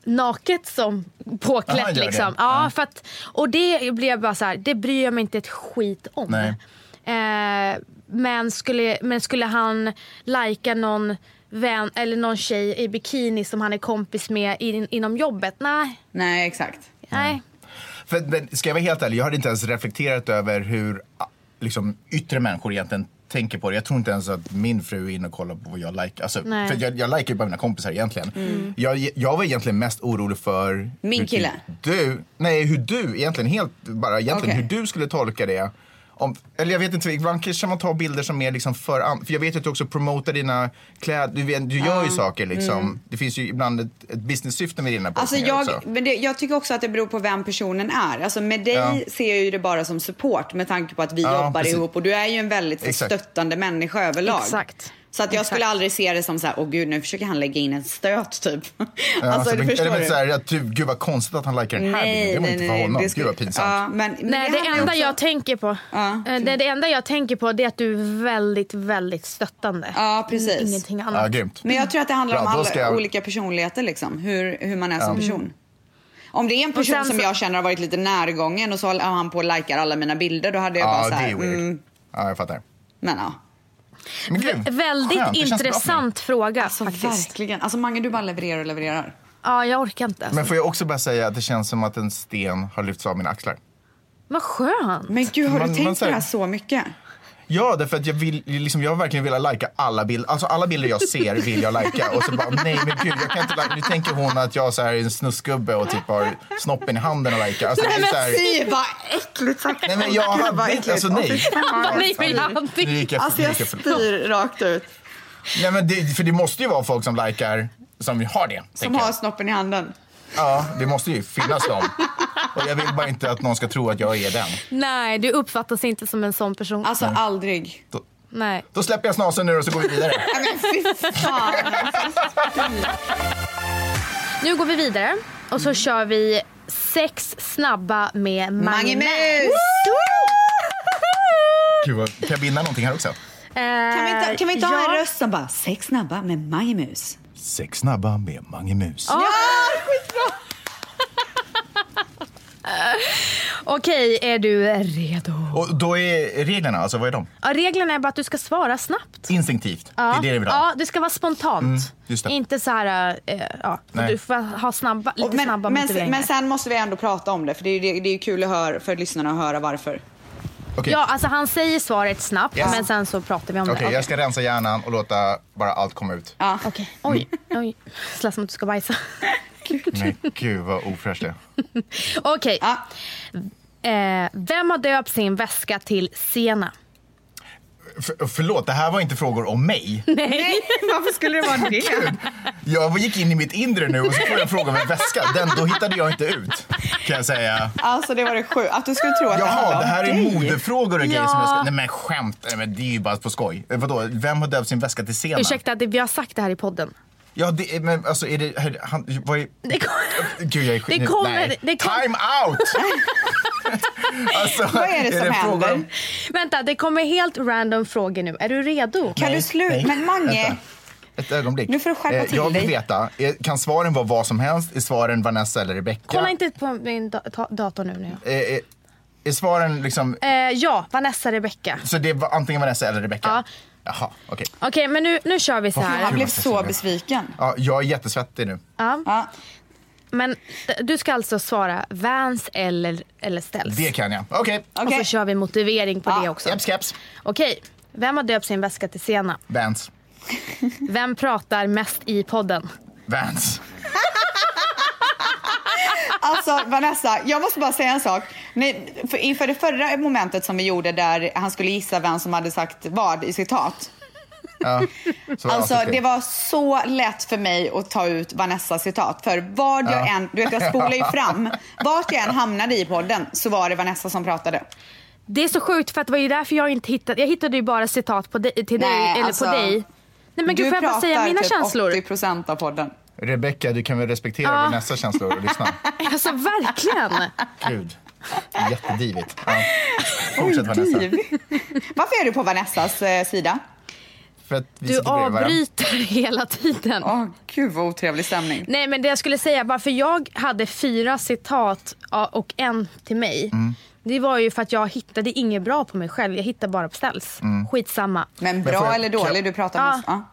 [SPEAKER 2] naket som
[SPEAKER 3] Aha, han
[SPEAKER 2] påklätt
[SPEAKER 3] gör det.
[SPEAKER 2] liksom. Ja, För att, och det blev bara så här, det bryr jag mig inte ett skit om.
[SPEAKER 3] Nej.
[SPEAKER 2] Eh, men, skulle, men skulle han lajka någon vän eller någon tjej i bikini som han är kompis med in, inom jobbet? Nej.
[SPEAKER 1] Nej, exakt.
[SPEAKER 2] Nej.
[SPEAKER 3] För, men, ska jag vara helt ärlig, jag hade inte ens reflekterat över hur ah, liksom, yttre människor egentligen tänker på det. Jag tror inte ens att min fru är inne och kollar på vad jag likar. Alltså,
[SPEAKER 2] Nej.
[SPEAKER 3] för jag, jag likar ju bara mina kompisar egentligen. Jag, jag var egentligen mest orolig för...
[SPEAKER 1] Min
[SPEAKER 3] hur typ
[SPEAKER 1] kille?
[SPEAKER 3] Du, nej, hur du egentligen, helt bara egentligen
[SPEAKER 1] Okej.
[SPEAKER 3] hur du skulle tolka det. Om, eller jag vet inte, ibland kanske man tar bilder som är liksom för... an- För jag vet ju att du också promotar dina kläder. Du, vet- du gör ju saker liksom. Det finns ju ibland ett, ett business-syfte med dina
[SPEAKER 1] Alltså
[SPEAKER 3] postningar
[SPEAKER 1] jag,
[SPEAKER 3] också.
[SPEAKER 1] men det, jag tycker också att det beror på vem personen är. Alltså med dig
[SPEAKER 3] Ja.
[SPEAKER 1] ser jag ju det bara som support med tanke på att vi
[SPEAKER 3] Ja,
[SPEAKER 1] jobbar
[SPEAKER 3] precis.
[SPEAKER 1] ihop och du är ju en väldigt så
[SPEAKER 3] Exakt.
[SPEAKER 1] stöttande människa överlag.
[SPEAKER 2] Exakt.
[SPEAKER 1] Så att jag
[SPEAKER 2] Exakt.
[SPEAKER 1] skulle aldrig se det som så här, åh gud nu försöker han lägga in en stöt typ. [laughs]
[SPEAKER 3] Ja,
[SPEAKER 1] alltså
[SPEAKER 3] alltså,
[SPEAKER 1] du
[SPEAKER 3] men-
[SPEAKER 1] förstår
[SPEAKER 3] eller
[SPEAKER 1] du.
[SPEAKER 3] men så här, att typ, gud vad konstigt att han likar den här bilden.
[SPEAKER 1] nej,
[SPEAKER 3] Det var
[SPEAKER 1] nej,
[SPEAKER 3] inte
[SPEAKER 1] nej.
[SPEAKER 3] för honom.
[SPEAKER 1] det
[SPEAKER 3] Gud vad pinsamt.
[SPEAKER 1] Ja, men, men
[SPEAKER 2] Nej, det,
[SPEAKER 1] handlar ju
[SPEAKER 2] enda
[SPEAKER 1] också-
[SPEAKER 2] jag tänker på
[SPEAKER 1] Ja.
[SPEAKER 2] Eh, det, det enda jag tänker på det är att du är väldigt, väldigt stöttande.
[SPEAKER 1] Ja, precis.
[SPEAKER 2] Ingenting annat.
[SPEAKER 3] Ja, grymt.
[SPEAKER 1] Men jag tror att det handlar om
[SPEAKER 3] Bra, då
[SPEAKER 1] alla
[SPEAKER 3] ska jag-
[SPEAKER 1] olika personligheter liksom. Hur, hur man är som person. Om det är en person
[SPEAKER 2] sen
[SPEAKER 1] som
[SPEAKER 2] så-
[SPEAKER 1] jag känner har varit lite närgången och så håller han på och likar alla mina bilder. Då hade jag bara
[SPEAKER 3] Ja,
[SPEAKER 1] så
[SPEAKER 3] det
[SPEAKER 1] här,
[SPEAKER 3] är weird.
[SPEAKER 1] mm,
[SPEAKER 3] Ja, jag fattar.
[SPEAKER 1] men ja.
[SPEAKER 3] Men gud,
[SPEAKER 2] Vä- väldigt
[SPEAKER 3] skönt, det känns bra för mig.
[SPEAKER 2] intressant fråga faktiskt.
[SPEAKER 1] Verkligen. Alltså Mange, du bara levererar och levererar.
[SPEAKER 2] Ja, jag orkar inte. Alltså.
[SPEAKER 3] Men får jag också bara säga att det känns som att en sten har lyfts av mina axlar.
[SPEAKER 2] Vad skönt.
[SPEAKER 1] Men gud, har
[SPEAKER 3] Man-
[SPEAKER 1] du
[SPEAKER 3] man
[SPEAKER 1] tänkt på
[SPEAKER 3] säger-
[SPEAKER 1] det här så mycket?
[SPEAKER 3] Ja, därför att jag, vill, liksom, jag har verkligen velat lajka alla bilder. Alltså alla bilder jag ser vill jag lajka. Och så bara, nej men gud, jag kan inte lajka. Nu tänker hon att jag så här, är en snusgubbe och typ har snoppen i handen och lajkar. Alltså, det är så här,
[SPEAKER 1] Fy, vad äckligt sagt.
[SPEAKER 3] nej men jag
[SPEAKER 1] Gud, vad
[SPEAKER 3] hade
[SPEAKER 1] äckligt.
[SPEAKER 3] inte, alltså
[SPEAKER 1] Åh, fy
[SPEAKER 3] nej.
[SPEAKER 2] [laughs]
[SPEAKER 1] fan.
[SPEAKER 2] Nej, men jag hade
[SPEAKER 3] Nu gick jag,
[SPEAKER 1] Alltså
[SPEAKER 3] nu
[SPEAKER 1] jag
[SPEAKER 3] gick jag för-
[SPEAKER 1] spyr rakt ut.
[SPEAKER 3] Nej men det, för det måste ju vara folk som likar som har det.
[SPEAKER 1] Som
[SPEAKER 3] tänker jag.
[SPEAKER 1] har snoppen i handen.
[SPEAKER 3] Ja, det måste ju finnas dem. Och jag vill bara inte att någon ska tro att jag är den.
[SPEAKER 2] Nej, du uppfattas inte som en sån person.
[SPEAKER 1] Alltså aldrig.
[SPEAKER 3] Då,
[SPEAKER 2] Nej.
[SPEAKER 3] då släpper jag snasen nu och så går vi vidare.
[SPEAKER 1] Nej, men fy fan.
[SPEAKER 2] Nu går vi vidare och
[SPEAKER 3] Mm.
[SPEAKER 2] så kör vi sex snabba med Mange
[SPEAKER 1] Mange
[SPEAKER 2] Mus.
[SPEAKER 1] Mus!
[SPEAKER 3] Gud, vad- kan jag vinna någonting här också?
[SPEAKER 1] Kan vi inte, kan vi inte ha en
[SPEAKER 2] ja.
[SPEAKER 1] röst som bara sex snabba med Mange Mus?
[SPEAKER 3] Sex snabba med Mange Mus.
[SPEAKER 1] Ja,
[SPEAKER 2] Okej, är du redo?
[SPEAKER 3] Och då är reglerna, alltså vad är de?
[SPEAKER 2] Ja, reglerna är bara att du ska svara snabbt.
[SPEAKER 3] Instinktivt.
[SPEAKER 2] Ja,
[SPEAKER 3] Det är det vi vill ha. Mm,
[SPEAKER 2] ja, det ska vara spontant.
[SPEAKER 3] just det.
[SPEAKER 2] Inte så här... eh, ja,
[SPEAKER 3] Nej.
[SPEAKER 2] du får ha snabba, lite
[SPEAKER 1] men,
[SPEAKER 2] snabba
[SPEAKER 1] men,
[SPEAKER 2] motiveringar.
[SPEAKER 1] men sen måste vi ändå prata om det för det är ju, det, det är ju kul att höra, för lyssnarna att höra varför.
[SPEAKER 3] Okej,
[SPEAKER 2] Ja, alltså han säger svaret snabbt
[SPEAKER 3] Yes.
[SPEAKER 2] men sen så pratar vi om
[SPEAKER 3] Okej,
[SPEAKER 2] det.
[SPEAKER 3] jag ska rensa hjärnan och låta bara allt komma ut.
[SPEAKER 1] Ja.
[SPEAKER 2] Okej.
[SPEAKER 3] [laughs]
[SPEAKER 2] Oj, oj. Det lät som att du ska bajsa. [laughs]
[SPEAKER 3] Men gud vad ofräscht det är.
[SPEAKER 2] Okej.
[SPEAKER 1] Ja.
[SPEAKER 2] Eh, vem har döpt sin väska till Sena?
[SPEAKER 3] För, förlåt, det här var inte frågor om mig.
[SPEAKER 1] Nej, varför skulle det vara det?
[SPEAKER 3] Jag gick in i mitt inre nu och så får jag fråga om en väska. Den, då hittade jag inte ut, kan jag säga.
[SPEAKER 1] Alltså det var det sjukt. Att du skulle tro att det
[SPEAKER 3] Jaha,
[SPEAKER 1] handlade
[SPEAKER 3] det
[SPEAKER 1] om
[SPEAKER 3] här är
[SPEAKER 1] dig.
[SPEAKER 3] modefrågor och grejer som jag
[SPEAKER 2] Ja.
[SPEAKER 3] ska... Nej men skämt, Nej, men det är ju bara på skoj. Eh, Vadå, vem har döpt sin väska till Sena?
[SPEAKER 2] Ursäkta, det, vi har sagt det här i podden.
[SPEAKER 3] Ja, det, är- men alltså är det... här- Han, vad är,
[SPEAKER 2] Det kom...
[SPEAKER 3] gud jag är skit-
[SPEAKER 2] Det
[SPEAKER 3] nu-
[SPEAKER 2] kommer-
[SPEAKER 3] nej.
[SPEAKER 2] det kom-
[SPEAKER 3] Time
[SPEAKER 1] [laughs]
[SPEAKER 3] out! alltså,
[SPEAKER 1] Vad är det som
[SPEAKER 3] fråga om-
[SPEAKER 1] händer?
[SPEAKER 2] Vänta, det kommer helt random frågor nu. Är du redo?
[SPEAKER 1] Kan du
[SPEAKER 3] Nej,
[SPEAKER 1] sluta?
[SPEAKER 3] nej.
[SPEAKER 1] Men Mange,
[SPEAKER 3] Vänta. Ett ögonblick.
[SPEAKER 1] Nu får du skärpa
[SPEAKER 3] Eh,
[SPEAKER 1] till
[SPEAKER 3] Jag vill
[SPEAKER 1] dig.
[SPEAKER 3] veta, eh, kan svaren vara vad som helst? Är svaren Vanessa eller Rebecca?
[SPEAKER 2] Kolla inte på min da- ta- dator nu. nu.
[SPEAKER 3] Eh, eh, är svaren liksom...
[SPEAKER 2] Eh, ja, Vanessa, Rebecca.
[SPEAKER 3] Så det är va- antingen Vanessa eller Rebecca?
[SPEAKER 2] Ja.
[SPEAKER 3] Jaha, okej.
[SPEAKER 2] Okej, men nu, nu kör vi så
[SPEAKER 1] han
[SPEAKER 2] här.
[SPEAKER 1] blev
[SPEAKER 3] vad ska jag
[SPEAKER 1] så
[SPEAKER 3] säga?
[SPEAKER 1] besviken.
[SPEAKER 3] Ja, jag är jättesvettig nu.
[SPEAKER 2] Ja.
[SPEAKER 1] Ja.
[SPEAKER 2] Men d- du ska alltså svara Vans eller, eller Ställs.
[SPEAKER 3] Det kan jag. Okej.
[SPEAKER 2] Och
[SPEAKER 4] Okej.
[SPEAKER 2] så kör vi motivering på det också.
[SPEAKER 3] Japs, caps.
[SPEAKER 2] Okej, vem har döpt sin väska till Sena?
[SPEAKER 3] Vans.
[SPEAKER 2] Vem pratar mest i podden?
[SPEAKER 3] Vans.
[SPEAKER 4] Alltså Vanessa, jag måste bara säga en sak. Nej, för inför det förra momentet som vi gjorde där han skulle gissa vem som hade sagt vad i citat.
[SPEAKER 3] Ja. Så
[SPEAKER 4] Alltså
[SPEAKER 3] avsnitt
[SPEAKER 4] det var så lätt för mig att ta ut Vanessas citat. För vad jag än, du vet jag spolar [laughs] ju fram. Vart jag än hamnade i podden så var det Vanessa som pratade.
[SPEAKER 2] Det är så sjukt för att det var ju därför jag inte hittade, jag hittade ju bara citat på dig, till dig,
[SPEAKER 4] Nej,
[SPEAKER 2] eller
[SPEAKER 4] alltså,
[SPEAKER 2] på dig. Nej men gud
[SPEAKER 4] du
[SPEAKER 2] får jag bara säga mina
[SPEAKER 4] typ
[SPEAKER 2] känslor?
[SPEAKER 4] 80% av podden.
[SPEAKER 3] Rebecka, du kan väl respektera
[SPEAKER 2] Ja.
[SPEAKER 3] vår nästa känslor och lyssna.
[SPEAKER 2] [laughs] Alltså
[SPEAKER 3] [laughs]
[SPEAKER 2] verkligen.
[SPEAKER 3] Alltså, Gud. Jättedivigt. Ja. Fortsätt Vanessa.
[SPEAKER 4] Varför är du på Vanessas eh, sida?
[SPEAKER 3] För att vi
[SPEAKER 2] Du
[SPEAKER 3] sitter bredvid varandra.
[SPEAKER 2] avbryter [laughs] hela tiden.
[SPEAKER 4] Åh gud vad otrevlig stämning.
[SPEAKER 2] Nej men det jag skulle säga, varför jag hade fyra citat ja, och en till mig.
[SPEAKER 3] Mm.
[SPEAKER 2] Det var ju för att jag hittade inget bra på mig själv. Jag hittade bara på ställs.
[SPEAKER 3] Mm.
[SPEAKER 2] Skitsamma.
[SPEAKER 4] Men
[SPEAKER 3] Men får
[SPEAKER 4] bra
[SPEAKER 3] jag-
[SPEAKER 4] eller
[SPEAKER 3] kan-
[SPEAKER 4] dålig, du pratar
[SPEAKER 2] Ja.
[SPEAKER 4] mest. Ja.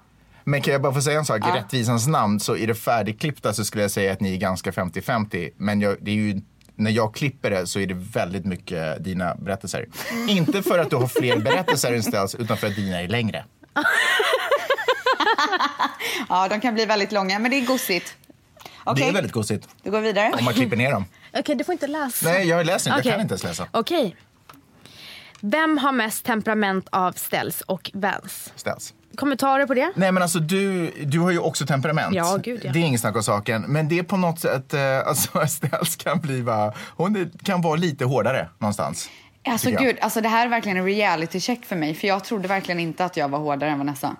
[SPEAKER 3] Men kan jag bara få säga en sak? I rättvisans namn så i det färdigklippta så skulle jag säga att ni är ganska 50-50. Men jag, det är ju, när jag klipper det så är det väldigt mycket dina berättelser. Inte för att du har fler berättelser än Ställs utan för att dina är längre.
[SPEAKER 4] ja, de kan bli väldigt långa men det är gosigt.
[SPEAKER 3] Det
[SPEAKER 4] Okej,
[SPEAKER 3] är väldigt gosigt
[SPEAKER 4] du går vidare.
[SPEAKER 3] om man klipper ner dem.
[SPEAKER 2] Okej du får inte läsa.
[SPEAKER 3] Nej, jag läser inte.
[SPEAKER 2] Okej.
[SPEAKER 3] Jag kan inte ens läsa.
[SPEAKER 2] Okej. Vem har mest temperament av ställs och Vans?
[SPEAKER 3] Ställs.
[SPEAKER 2] Kommentarer på det?
[SPEAKER 3] Nej men alltså du, du har ju också temperament.
[SPEAKER 2] Ja, gud, ja.
[SPEAKER 3] Det är inget snack om saken. Men det är på något sätt, eh, alltså [laughs] Ställs kan bli bara, hon är, kan vara lite hårdare någonstans.
[SPEAKER 4] Alltså
[SPEAKER 3] tycker jag.
[SPEAKER 4] gud, alltså, det här är verkligen en reality check för mig för jag trodde verkligen inte att jag var hårdare än Vanessa.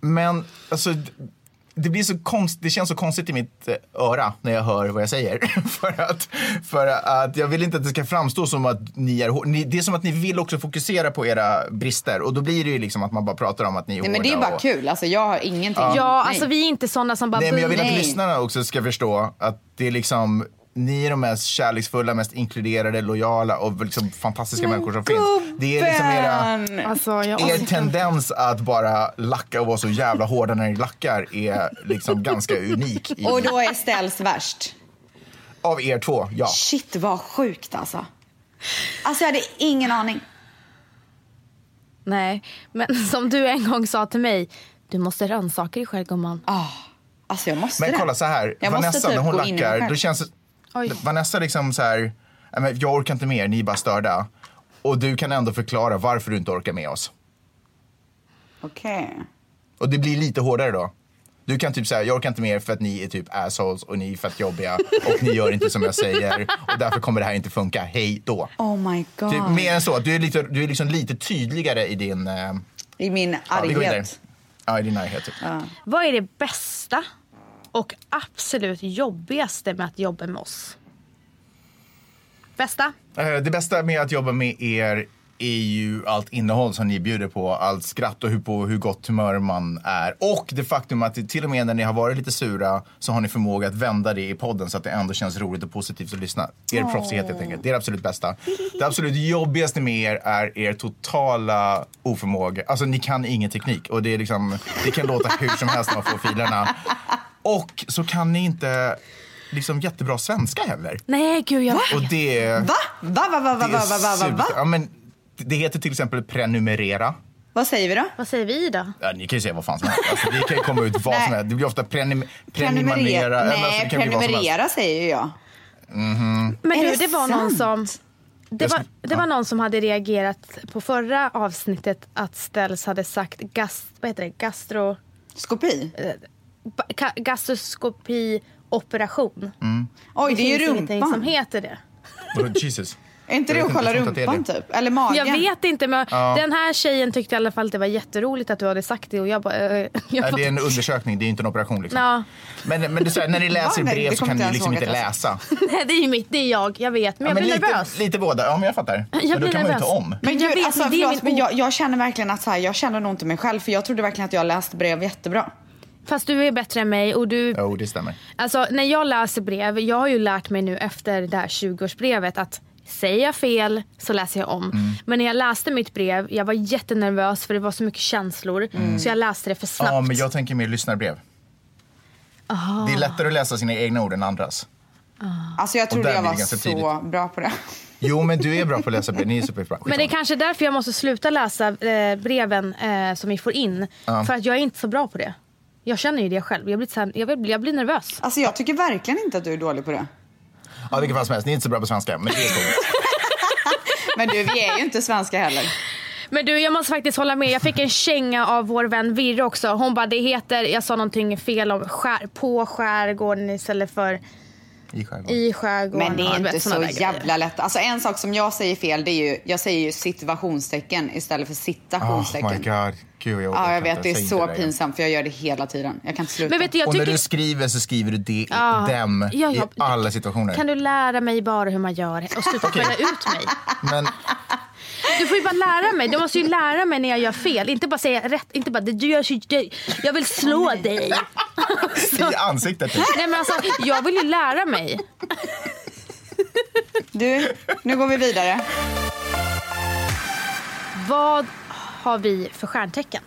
[SPEAKER 3] Men alltså, d- det, blir så konst, det känns så konstigt i mitt eh, öra när jag hör vad jag säger. [laughs] för, att, för att jag vill inte att det ska framstå som att ni är hår- ni, Det är som att ni vill också fokusera på era brister och då blir det ju liksom att man bara pratar om att ni är
[SPEAKER 4] Nej,
[SPEAKER 3] hårda.
[SPEAKER 4] men det är ju bara
[SPEAKER 3] och,
[SPEAKER 4] kul, alltså, jag har ingenting.
[SPEAKER 2] Ja,
[SPEAKER 4] Nej.
[SPEAKER 2] alltså vi är inte sådana som bara
[SPEAKER 3] Nej, men jag vill att
[SPEAKER 4] Nej.
[SPEAKER 3] lyssnarna också ska förstå att det är liksom ni är de mest kärleksfulla, mest inkluderade, lojala och liksom fantastiska människor som finns. Det är liksom era,
[SPEAKER 4] Gubben!
[SPEAKER 2] Alltså, jag
[SPEAKER 3] er tendens att bara lacka och vara så jävla hårda när ni lackar är liksom
[SPEAKER 4] [laughs]
[SPEAKER 3] ganska unik. I
[SPEAKER 4] Och då är Ställs värst.
[SPEAKER 3] Av er två, ja.
[SPEAKER 4] Shit vad sjukt alltså. Alltså jag hade ingen aning.
[SPEAKER 2] Nej, men [laughs] som du en gång sa till mig. Du måste rannsaka dig själv gumman.
[SPEAKER 4] Ah, alltså jag måste
[SPEAKER 3] Men
[SPEAKER 4] det.
[SPEAKER 3] kolla så här,
[SPEAKER 4] Jag måste
[SPEAKER 3] Vanessa
[SPEAKER 4] typ
[SPEAKER 3] när hon
[SPEAKER 4] gå in i mig
[SPEAKER 3] lackar,
[SPEAKER 4] själv.
[SPEAKER 3] då känns
[SPEAKER 2] Oj.
[SPEAKER 3] det... Vanessa liksom så här, "Nej, men jag orkar inte mer, ni är bara störda. Och du kan ändå förklara varför du inte orkar med oss.
[SPEAKER 4] Okej.
[SPEAKER 3] Och det blir lite hårdare då. Du kan typ säga, jag orkar inte mer för att ni är typ assholes och ni är fett jobbiga och ni gör inte som jag säger och därför kommer det här inte funka, hej då.
[SPEAKER 4] Oh my god.
[SPEAKER 3] Typ, mer än så, du är, lite, du är liksom lite tydligare i din... Eh, ja,
[SPEAKER 4] I min
[SPEAKER 3] vi går vidare.
[SPEAKER 4] arghet.
[SPEAKER 3] Ja, i din närhet. Typ.
[SPEAKER 2] Vad är det bästa och absolut jobbigaste med att jobba med oss? Bästa?
[SPEAKER 3] Eh, Det bästa med att jobba med er är ju allt innehåll som ni bjuder på, allt skratt och hur, på hur gott humör man är. Och det faktum att till och med när ni har varit lite sura så har ni förmåga att vända det i podden så att det ändå känns roligt och positivt att lyssna. Er proffsighet helt enkelt. Det är det absolut bästa. Det absolut jobbigaste med er är er totala oförmåga. Alltså ni kan ingen teknik och det, är liksom, det kan låta hur som helst när man får filerna. Och så kan ni inte liksom jättebra svenska heller.
[SPEAKER 2] Nej gud jag
[SPEAKER 3] Och det...
[SPEAKER 4] Va? Va, va, va, va,
[SPEAKER 3] Det
[SPEAKER 4] va,
[SPEAKER 3] är
[SPEAKER 4] va, va, va, va?
[SPEAKER 3] surt. Ja, men det heter till exempel prenumerera.
[SPEAKER 4] Vad säger vi då?
[SPEAKER 2] Vad säger vi då?
[SPEAKER 3] Ja, ni kan ju säga vad fan som helst. Alltså, det kan ju komma ut vad
[SPEAKER 4] Nej.
[SPEAKER 3] som helst. Det blir ofta prenim- prenumerera.
[SPEAKER 4] Prenumerera.
[SPEAKER 3] eller alltså,
[SPEAKER 4] Nej,
[SPEAKER 3] det kan bli vad som helst.
[SPEAKER 4] prenumerera säger ju jag.
[SPEAKER 2] Men
[SPEAKER 4] Är
[SPEAKER 2] du,
[SPEAKER 4] det
[SPEAKER 2] det, var någon som...
[SPEAKER 4] sant?
[SPEAKER 2] Det
[SPEAKER 3] Jag
[SPEAKER 2] var,
[SPEAKER 3] ska-
[SPEAKER 2] det
[SPEAKER 3] ja.
[SPEAKER 2] var någon som hade reagerat på förra avsnittet att Ställs hade sagt gas, vad heter det? gastro...
[SPEAKER 4] Skopi?
[SPEAKER 2] ba- ka- gastroskopioperation.
[SPEAKER 4] Oj, det, är ju
[SPEAKER 2] finns ingenting som
[SPEAKER 4] rumpan.
[SPEAKER 2] heter det.
[SPEAKER 3] Vadå, Jesus.
[SPEAKER 4] Är inte
[SPEAKER 3] Jag
[SPEAKER 4] det
[SPEAKER 3] vet
[SPEAKER 4] att kolla
[SPEAKER 3] jag tror inte att det är
[SPEAKER 4] rumpan
[SPEAKER 3] det.
[SPEAKER 4] typ? Eller magen?
[SPEAKER 2] Jag vet inte men
[SPEAKER 3] Ja.
[SPEAKER 2] den här tjejen tyckte i alla fall att det var jätteroligt att du hade sagt det och jag bara... eh, [laughs] jag
[SPEAKER 3] Nej,
[SPEAKER 2] bara
[SPEAKER 3] det är en undersökning, det är inte en operation. Liksom.
[SPEAKER 2] Ja. [laughs]
[SPEAKER 3] Men, men det är så här, när
[SPEAKER 4] [laughs]
[SPEAKER 3] ni läser
[SPEAKER 4] Va? Nej,
[SPEAKER 3] brev
[SPEAKER 4] det
[SPEAKER 3] så
[SPEAKER 4] kommer
[SPEAKER 3] kan
[SPEAKER 4] inte
[SPEAKER 3] ni
[SPEAKER 4] ens alltså.
[SPEAKER 3] liksom
[SPEAKER 4] ihåg
[SPEAKER 3] inte
[SPEAKER 4] att jag
[SPEAKER 3] läsa.
[SPEAKER 2] Nej det är ju mitt, det är jag, jag vet. Men jag
[SPEAKER 3] men
[SPEAKER 2] blir
[SPEAKER 3] lite,
[SPEAKER 2] nervös.
[SPEAKER 3] lite båda. Ja, men jag fattar.
[SPEAKER 2] Jag
[SPEAKER 3] men då
[SPEAKER 2] blir
[SPEAKER 3] kan man ju
[SPEAKER 2] nervös.
[SPEAKER 3] ta om.
[SPEAKER 4] Men
[SPEAKER 2] Jag
[SPEAKER 4] jag,
[SPEAKER 2] vet,
[SPEAKER 4] alltså,
[SPEAKER 2] det är
[SPEAKER 4] förlåt,
[SPEAKER 2] min
[SPEAKER 4] men
[SPEAKER 2] o-
[SPEAKER 4] jag, jag känner verkligen att så här, jag känner nog inte mig själv för jag trodde verkligen att jag läste brev jättebra.
[SPEAKER 2] Fast du är bättre än mig och du...
[SPEAKER 3] Jo, det stämmer.
[SPEAKER 2] Alltså när jag läser brev, jag har ju lärt mig nu efter det här 20-årsbrevet att säger jag fel så läser jag om.
[SPEAKER 3] Mm.
[SPEAKER 2] Men när jag läste mitt brev, jag var jättenervös för det var så mycket känslor.
[SPEAKER 3] Mm.
[SPEAKER 2] Så jag läste det för snabbt. Ah.
[SPEAKER 3] Ja, men jag tänker mer lyssnarbrev. Det är lättare att läsa sina egna ord än andras.
[SPEAKER 4] Alltså jag trodde
[SPEAKER 3] där
[SPEAKER 4] jag
[SPEAKER 3] blir det
[SPEAKER 4] var så
[SPEAKER 3] ganska tidigt.
[SPEAKER 4] bra på det.
[SPEAKER 3] Jo, men du är bra på att läsa brev. Ni är superbra.
[SPEAKER 2] Men det är kanske därför jag måste sluta läsa eh, breven eh, som vi får in. För att jag är inte så bra på det. Jag känner ju det själv. Jag blir, så här, jag blir, jag blir nervös.
[SPEAKER 4] Alltså jag tycker verkligen inte att du är dålig på det.
[SPEAKER 3] Ja, vilken fall som helst. Ni är inte så bra på svenska, men det är skolan.
[SPEAKER 4] Men du, vi är ju inte svenska heller.
[SPEAKER 2] Men du, jag måste faktiskt hålla med. Jag fick en känga av vår vän Virre också. Hon bara, det heter, jag sa någonting fel om skär, på skärgården istället för
[SPEAKER 3] I skärgården.
[SPEAKER 2] i skärgården.
[SPEAKER 4] [laughs] Men det
[SPEAKER 2] Ja,
[SPEAKER 4] är
[SPEAKER 2] du vet,
[SPEAKER 4] inte
[SPEAKER 2] såna
[SPEAKER 4] så
[SPEAKER 2] där grejer.
[SPEAKER 4] jävla lätt. Alltså en sak som jag säger fel, det är ju, jag säger ju situationstecken istället för
[SPEAKER 3] Oh my
[SPEAKER 4] citationstecken.
[SPEAKER 3] god. Gud, jag
[SPEAKER 4] ja,
[SPEAKER 3] orkar
[SPEAKER 4] jag vet.
[SPEAKER 3] inte.
[SPEAKER 4] Det är
[SPEAKER 3] Säg
[SPEAKER 4] så
[SPEAKER 3] inte det igen.
[SPEAKER 4] pinsamt för jag gör det hela tiden. Jag kan inte sluta.
[SPEAKER 2] Men vet du, jag
[SPEAKER 3] Och när
[SPEAKER 2] tycker...
[SPEAKER 3] du skriver så skriver du det,
[SPEAKER 2] Ja.
[SPEAKER 3] dem
[SPEAKER 2] Ja, ja.
[SPEAKER 3] i alla situationer.
[SPEAKER 2] Kan du lära mig bara hur man gör och sluta skälla ut mig?
[SPEAKER 4] [laughs]
[SPEAKER 3] Men
[SPEAKER 2] Du får ju bara lära mig. Du måste ju lära mig när jag gör fel. Inte bara säga rätt. Inte bara, du gör så... Jag vill slå dig.
[SPEAKER 3] i ansiktet. typ.
[SPEAKER 2] Nej men alltså, jag vill ju lära mig.
[SPEAKER 4] Du, nu går vi vidare.
[SPEAKER 2] Vad har vi för stjärntecken?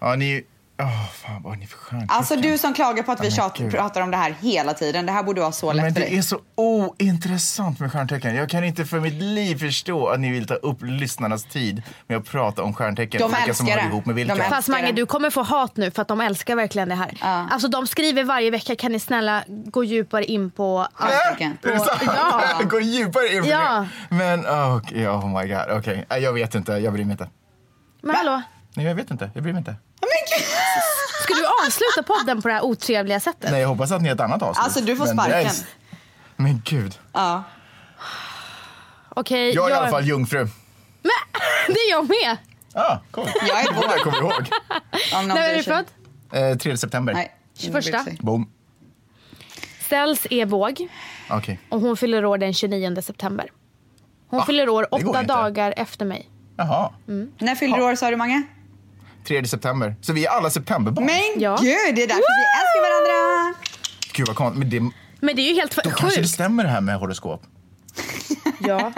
[SPEAKER 3] Ja, ni... Åh, fan, vad är ni för stjärntecken?
[SPEAKER 4] Alltså du som klagar på att vi
[SPEAKER 3] men
[SPEAKER 4] tjat,
[SPEAKER 3] gud.
[SPEAKER 4] pratar om det här hela tiden. Det här borde vara så lätt
[SPEAKER 3] Men
[SPEAKER 4] för
[SPEAKER 3] det
[SPEAKER 4] dig.
[SPEAKER 3] är så ointressant med stjärntecken. Jag kan inte för mitt liv förstå att ni vill ta upp lyssnarnas tid med att prata om stjärntecken.
[SPEAKER 4] De
[SPEAKER 3] och vilka som
[SPEAKER 4] älskar
[SPEAKER 3] hör
[SPEAKER 4] det.
[SPEAKER 3] ihop med
[SPEAKER 4] De
[SPEAKER 3] vilka.
[SPEAKER 4] älskar-
[SPEAKER 2] Fast Mange,
[SPEAKER 4] det.
[SPEAKER 2] du kommer få hat nu för att de älskar verkligen det här. Alltså de skriver varje vecka, kan ni snälla gå djupare in på...
[SPEAKER 4] Stjärntecken.
[SPEAKER 3] Äh, Är det sant?
[SPEAKER 2] Ja.
[SPEAKER 3] Gå djupare in på
[SPEAKER 2] Ja.
[SPEAKER 3] det. Men oh, oh my god, okej. Nej, Jag vet inte, jag bryr mig inte.
[SPEAKER 2] Men hallå,
[SPEAKER 3] Nej, jag vet inte, jag bryr mig inte.
[SPEAKER 2] ska du avsluta podden på det här otrevliga sättet?
[SPEAKER 3] Nej, jag hoppas att ni har ett annat avsnitt.
[SPEAKER 4] Alltså, du får
[SPEAKER 3] Men det är-
[SPEAKER 4] sparken.
[SPEAKER 3] Men gud.
[SPEAKER 4] Ja.
[SPEAKER 2] Okej,
[SPEAKER 3] Jag är i alla fall jungfru.
[SPEAKER 2] Men, [laughs] det är jag med!
[SPEAKER 3] Ja, ah, cool.
[SPEAKER 4] Jag är
[SPEAKER 3] Det
[SPEAKER 4] vår.
[SPEAKER 3] där kommer du ihåg.
[SPEAKER 4] Om någon
[SPEAKER 2] När är
[SPEAKER 4] bryr
[SPEAKER 2] du
[SPEAKER 4] sig.
[SPEAKER 2] född?
[SPEAKER 3] Eh, 3 september.
[SPEAKER 4] Nej. ingen bryr
[SPEAKER 2] 21.
[SPEAKER 4] sig.
[SPEAKER 3] Boom.
[SPEAKER 2] Ställs är våg
[SPEAKER 3] Okej.
[SPEAKER 2] och hon fyller år den 29 september. Hon
[SPEAKER 3] Va?
[SPEAKER 2] fyller år
[SPEAKER 3] Ah, Det går
[SPEAKER 2] åtta
[SPEAKER 3] inte.
[SPEAKER 2] dagar efter mig.
[SPEAKER 3] Jaha.
[SPEAKER 4] När fyllde du år sa du Mange?
[SPEAKER 3] 3 september. Så vi är alla septemberbarn.
[SPEAKER 4] Men
[SPEAKER 2] Ja.
[SPEAKER 4] gud, det är därför vi älskar varandra.
[SPEAKER 3] Gud vad konstigt. Men det,
[SPEAKER 2] Men det är ju helt
[SPEAKER 3] då kanske det
[SPEAKER 2] sjukt.
[SPEAKER 3] stämmer det här med horoskop.
[SPEAKER 2] Ja.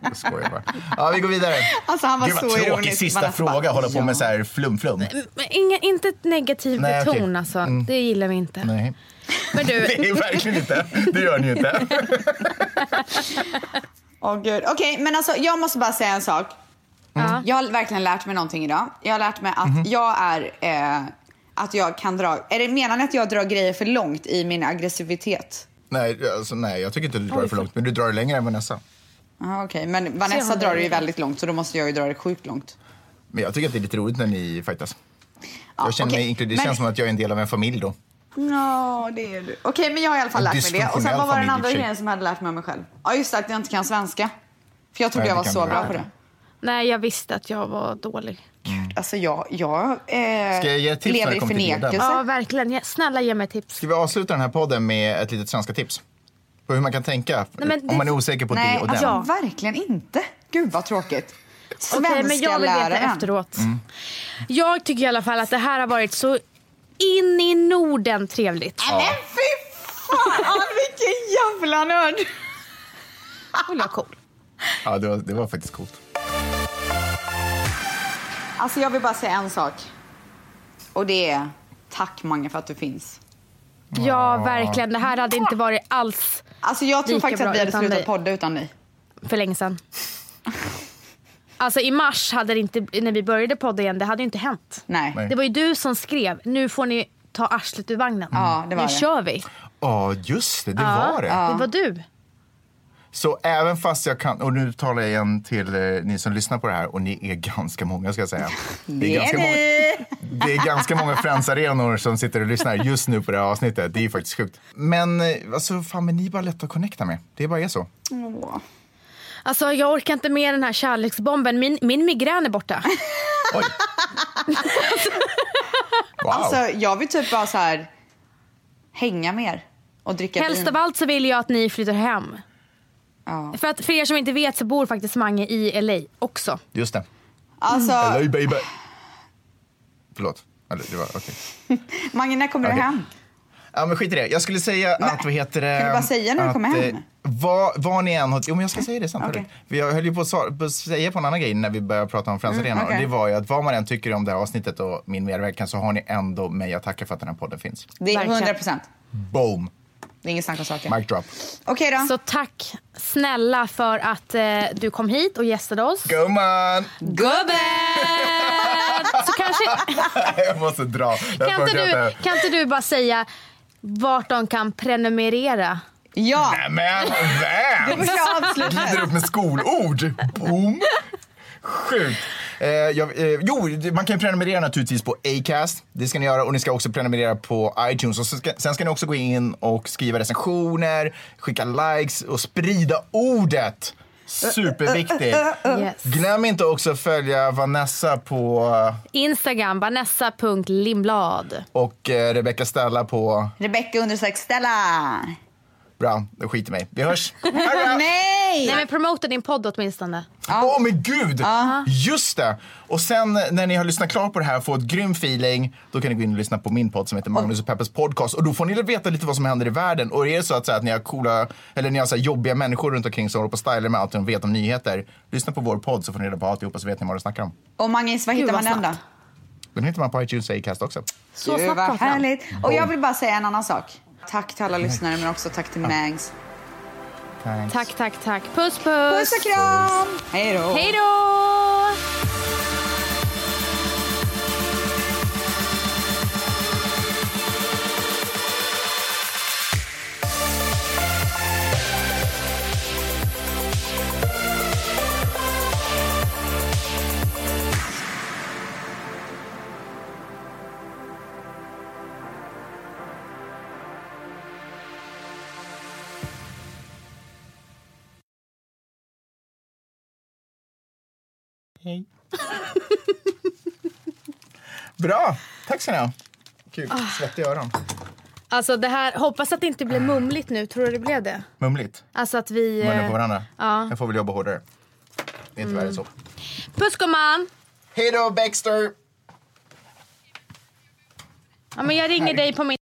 [SPEAKER 3] Jag skojar
[SPEAKER 4] [laughs]
[SPEAKER 3] bara. Ja, vi går vidare.
[SPEAKER 4] Alltså han var
[SPEAKER 3] Gud vad
[SPEAKER 4] så
[SPEAKER 3] tråkig
[SPEAKER 4] ironisk,
[SPEAKER 3] sista
[SPEAKER 4] Vanessa
[SPEAKER 3] fråga.
[SPEAKER 4] bara,
[SPEAKER 3] Hålla på
[SPEAKER 4] ja.
[SPEAKER 3] med så här flum-flum.
[SPEAKER 2] Men ingen, inte ett negativ
[SPEAKER 3] Nej, okej. Mm.
[SPEAKER 2] ton alltså. Det gillar vi inte.
[SPEAKER 3] Nej.
[SPEAKER 2] Men
[SPEAKER 4] [laughs]
[SPEAKER 3] Det
[SPEAKER 2] du,
[SPEAKER 3] är verkligen inte. Det gör ni ju inte. [laughs]
[SPEAKER 4] Åh gud. Okej, men alltså jag måste bara säga en sak.
[SPEAKER 2] Ja.
[SPEAKER 4] Mm. Jag har verkligen lärt mig någonting idag. Jag har lärt mig att jag är... Eh, att jag kan dra... Är det menar ni att jag drar grejer för långt i min aggressivitet?
[SPEAKER 3] Nej, alltså, nej, jag tycker inte du drar det för långt. Men du drar det längre än Vanessa.
[SPEAKER 4] Aha, okej. Men
[SPEAKER 2] Så
[SPEAKER 4] Vanessa
[SPEAKER 2] jag har
[SPEAKER 4] drar det ju
[SPEAKER 2] det.
[SPEAKER 4] väldigt långt så då måste jag ju dra det sjukt långt.
[SPEAKER 3] Men jag tycker att det är lite roligt när ni fightas.
[SPEAKER 4] Ja,
[SPEAKER 3] jag känner
[SPEAKER 4] okej.
[SPEAKER 3] mig inkluderad. Det
[SPEAKER 4] Men-
[SPEAKER 3] känns som att jag är en del av en familj då.
[SPEAKER 4] Ja, det är du. Okej, men jag har i alla fall
[SPEAKER 3] En
[SPEAKER 4] lärt mig det. Och sen
[SPEAKER 3] dysfunktionell
[SPEAKER 4] vad var den
[SPEAKER 3] familj,
[SPEAKER 4] andra
[SPEAKER 3] tjej.
[SPEAKER 4] grejen som jag hade lärt mig om mig själv? Ja, just det, att jag inte kan svenska. För jag trodde
[SPEAKER 3] Nej,
[SPEAKER 4] jag var
[SPEAKER 3] det kan
[SPEAKER 4] så
[SPEAKER 3] du
[SPEAKER 4] bra
[SPEAKER 3] verkligen.
[SPEAKER 4] på det.
[SPEAKER 2] nej jag visste att jag var dålig.
[SPEAKER 4] Alltså jag, jag, eh,
[SPEAKER 3] jag ge ett tips när
[SPEAKER 4] lever
[SPEAKER 3] det
[SPEAKER 4] i
[SPEAKER 3] kommer till bilden?
[SPEAKER 4] förnekelse.
[SPEAKER 2] Ja, verkligen. Ja, Snälla ge mig tips.
[SPEAKER 3] Ska vi avsluta den här podden med ett litet svenska tips? På hur man kan tänka
[SPEAKER 2] Nej, men det-
[SPEAKER 3] om man är osäker på
[SPEAKER 4] Nej,
[SPEAKER 3] det och den.
[SPEAKER 4] alltså, verkligen inte. Gud vad tråkigt. Svenska
[SPEAKER 2] Okej, men jag vill veta efteråt. Jag tycker i alla fall att det här har varit så in i Norden trevligt.
[SPEAKER 4] Men fy fan [laughs] vilken jävla nörd.
[SPEAKER 2] Håll jag cool.
[SPEAKER 3] Ja, det var, det var faktiskt coolt.
[SPEAKER 4] Alltså jag vill bara säga en sak. Och det är tack Mange för att du finns.
[SPEAKER 2] Ja, verkligen. Det här hade inte varit alls
[SPEAKER 4] Alltså jag tror
[SPEAKER 2] Lika
[SPEAKER 4] faktiskt
[SPEAKER 2] bra
[SPEAKER 4] att vi hade
[SPEAKER 2] utan
[SPEAKER 4] slutat
[SPEAKER 2] dig.
[SPEAKER 4] podda utan dig.
[SPEAKER 2] för länge sedan. Alltså i mars, hade det inte, när vi började podda igen, det hade ju inte hänt.
[SPEAKER 4] Nej.
[SPEAKER 3] Nej.
[SPEAKER 2] Det var ju du som skrev, nu får ni ta arslet ur vagnen.
[SPEAKER 4] Ja, det var
[SPEAKER 2] nu
[SPEAKER 4] det.
[SPEAKER 2] kör vi.
[SPEAKER 3] Ja, just det. Det var det.
[SPEAKER 2] Det var du.
[SPEAKER 3] Så även fast jag kan, och nu talar jag igen till eh, ni som lyssnar på det här, och ni är [laughs] ganska många ska jag säga.
[SPEAKER 4] Det är
[SPEAKER 3] ganska
[SPEAKER 4] ni.
[SPEAKER 3] många, det är ganska många Friends-arenor som sitter och lyssnar just nu på det här avsnittet. Det är ju faktiskt sjukt. Men eh, alltså, fan, men ni är bara lätta att connecta med. Det bara är så.
[SPEAKER 4] Åh.
[SPEAKER 2] Alltså jag orkar inte med den här kärleksbomben. Min, min migrän är borta.
[SPEAKER 3] Oj. Wow.
[SPEAKER 4] Alltså jag vill typ bara så här hänga med er och dricka
[SPEAKER 2] Helst
[SPEAKER 4] vin.
[SPEAKER 2] av allt så vill jag att ni flyttar hem.
[SPEAKER 4] Ja.
[SPEAKER 2] För, att, för er som inte vet så bor faktiskt Mange i LA också.
[SPEAKER 3] Just det.
[SPEAKER 4] Alltså
[SPEAKER 3] Hello baby. Förlåt. Eller, det var okej.
[SPEAKER 4] Mange när kommer
[SPEAKER 3] Okej.
[SPEAKER 4] du hem?
[SPEAKER 3] Ja, men skit i det. Jag skulle säga
[SPEAKER 1] Nej.
[SPEAKER 3] att, vad heter det?
[SPEAKER 1] Kan du bara säga när du
[SPEAKER 3] att,
[SPEAKER 1] kommer hem?
[SPEAKER 3] eh, Vad, vad ni än har... Jo, men jag ska säga det sen.
[SPEAKER 1] Okej.
[SPEAKER 3] Okay. Jag höll ju på att sa- på att säga på en annan grej när vi började prata om Friends Arena.
[SPEAKER 1] Mm, okej.
[SPEAKER 3] Och det var ju att vad man än tycker om det här avsnittet och min medverkan så har ni ändå mig att tacka för att den här podden finns.
[SPEAKER 1] Det är
[SPEAKER 2] Verkligen.
[SPEAKER 1] 100 procent.
[SPEAKER 3] Boom!
[SPEAKER 1] Det är inget snack om saken.
[SPEAKER 3] Mic drop.
[SPEAKER 1] Okej då.
[SPEAKER 2] Så tack snälla för att eh, du kom hit och gästade oss. Eh,
[SPEAKER 3] Gumman!
[SPEAKER 2] Gubben! Så kanske,
[SPEAKER 3] [laughs] jag måste dra. Det här
[SPEAKER 2] kan, inte
[SPEAKER 3] funkar
[SPEAKER 2] du, kan inte du bara säga vart de kan prenumerera?
[SPEAKER 1] Ja.
[SPEAKER 3] Nej, Men
[SPEAKER 1] Då
[SPEAKER 2] [laughs]
[SPEAKER 3] vem?
[SPEAKER 1] får jag avsluta.
[SPEAKER 3] Glider upp med skolord. Boom! Sjukt. Eh, jag, eh, jo, man kan ju prenumerera naturligtvis på Acast. Det ska ni göra och ni ska också prenumerera på iTunes. Och så ska, sen ska ni också gå in och skriva recensioner, skicka likes och sprida ordet. Superviktigt.
[SPEAKER 2] Yes.
[SPEAKER 3] Glöm inte också att följa Vanessa på eh,
[SPEAKER 2] Instagram, vanessa.lindblad.
[SPEAKER 3] och eh, Rebecca Stella på...
[SPEAKER 1] [laughs] Rebecca understreck Stella.
[SPEAKER 3] Bra, det skiter mig. Vi hörs. Hej då!
[SPEAKER 1] Nej!
[SPEAKER 2] Nej men promota din podd åtminstone.
[SPEAKER 3] Åh men gud! Just det! Och sen eh, när ni har lyssnat klart på det här och får ett grym feeling, då kan ni gå in och lyssna på min podd som heter Magnus och Peppes podcast. Och då får ni veta lite vad som händer i världen. Och är det så att, så här, att ni har coola, eller ni har så här, jobbiga människor runt omkring som håller på och stylar med allt och vet om nyheter. Lyssna på vår podd så får ni reda på alltihopa så vet ni vad du snackar om.
[SPEAKER 1] Och Mangis, vad
[SPEAKER 2] Gud,
[SPEAKER 1] hittar man
[SPEAKER 2] vad
[SPEAKER 1] den då?
[SPEAKER 2] snabbt.
[SPEAKER 3] Den hittar man på iTunes och Acast också.
[SPEAKER 2] Så
[SPEAKER 1] Gud,
[SPEAKER 2] snabbt
[SPEAKER 1] vad
[SPEAKER 2] pratar han.
[SPEAKER 1] härligt. Och jag vill bara säga en annan sak. Tack till alla lyssnare men också tack till Mangs.
[SPEAKER 3] Thanks.
[SPEAKER 2] Tack, tack, tack. Puss, puss.
[SPEAKER 1] Puss och kram! Hej då!
[SPEAKER 2] Hej då!
[SPEAKER 3] Bra! Tack ska ni ha. Kul. Svettiga öron.
[SPEAKER 2] Alltså det här, hoppas att det inte blir mumligt nu. Tror du det blev det?
[SPEAKER 3] Mumligt.
[SPEAKER 2] Alltså att vi...
[SPEAKER 3] Munnen på varandra.
[SPEAKER 2] Ja.
[SPEAKER 3] Jag får väl jobba hårdare. Det är inte värre än så.
[SPEAKER 2] Puss gumman!
[SPEAKER 3] Hej då Baxter!
[SPEAKER 2] Ja, men jag ringer dig på min...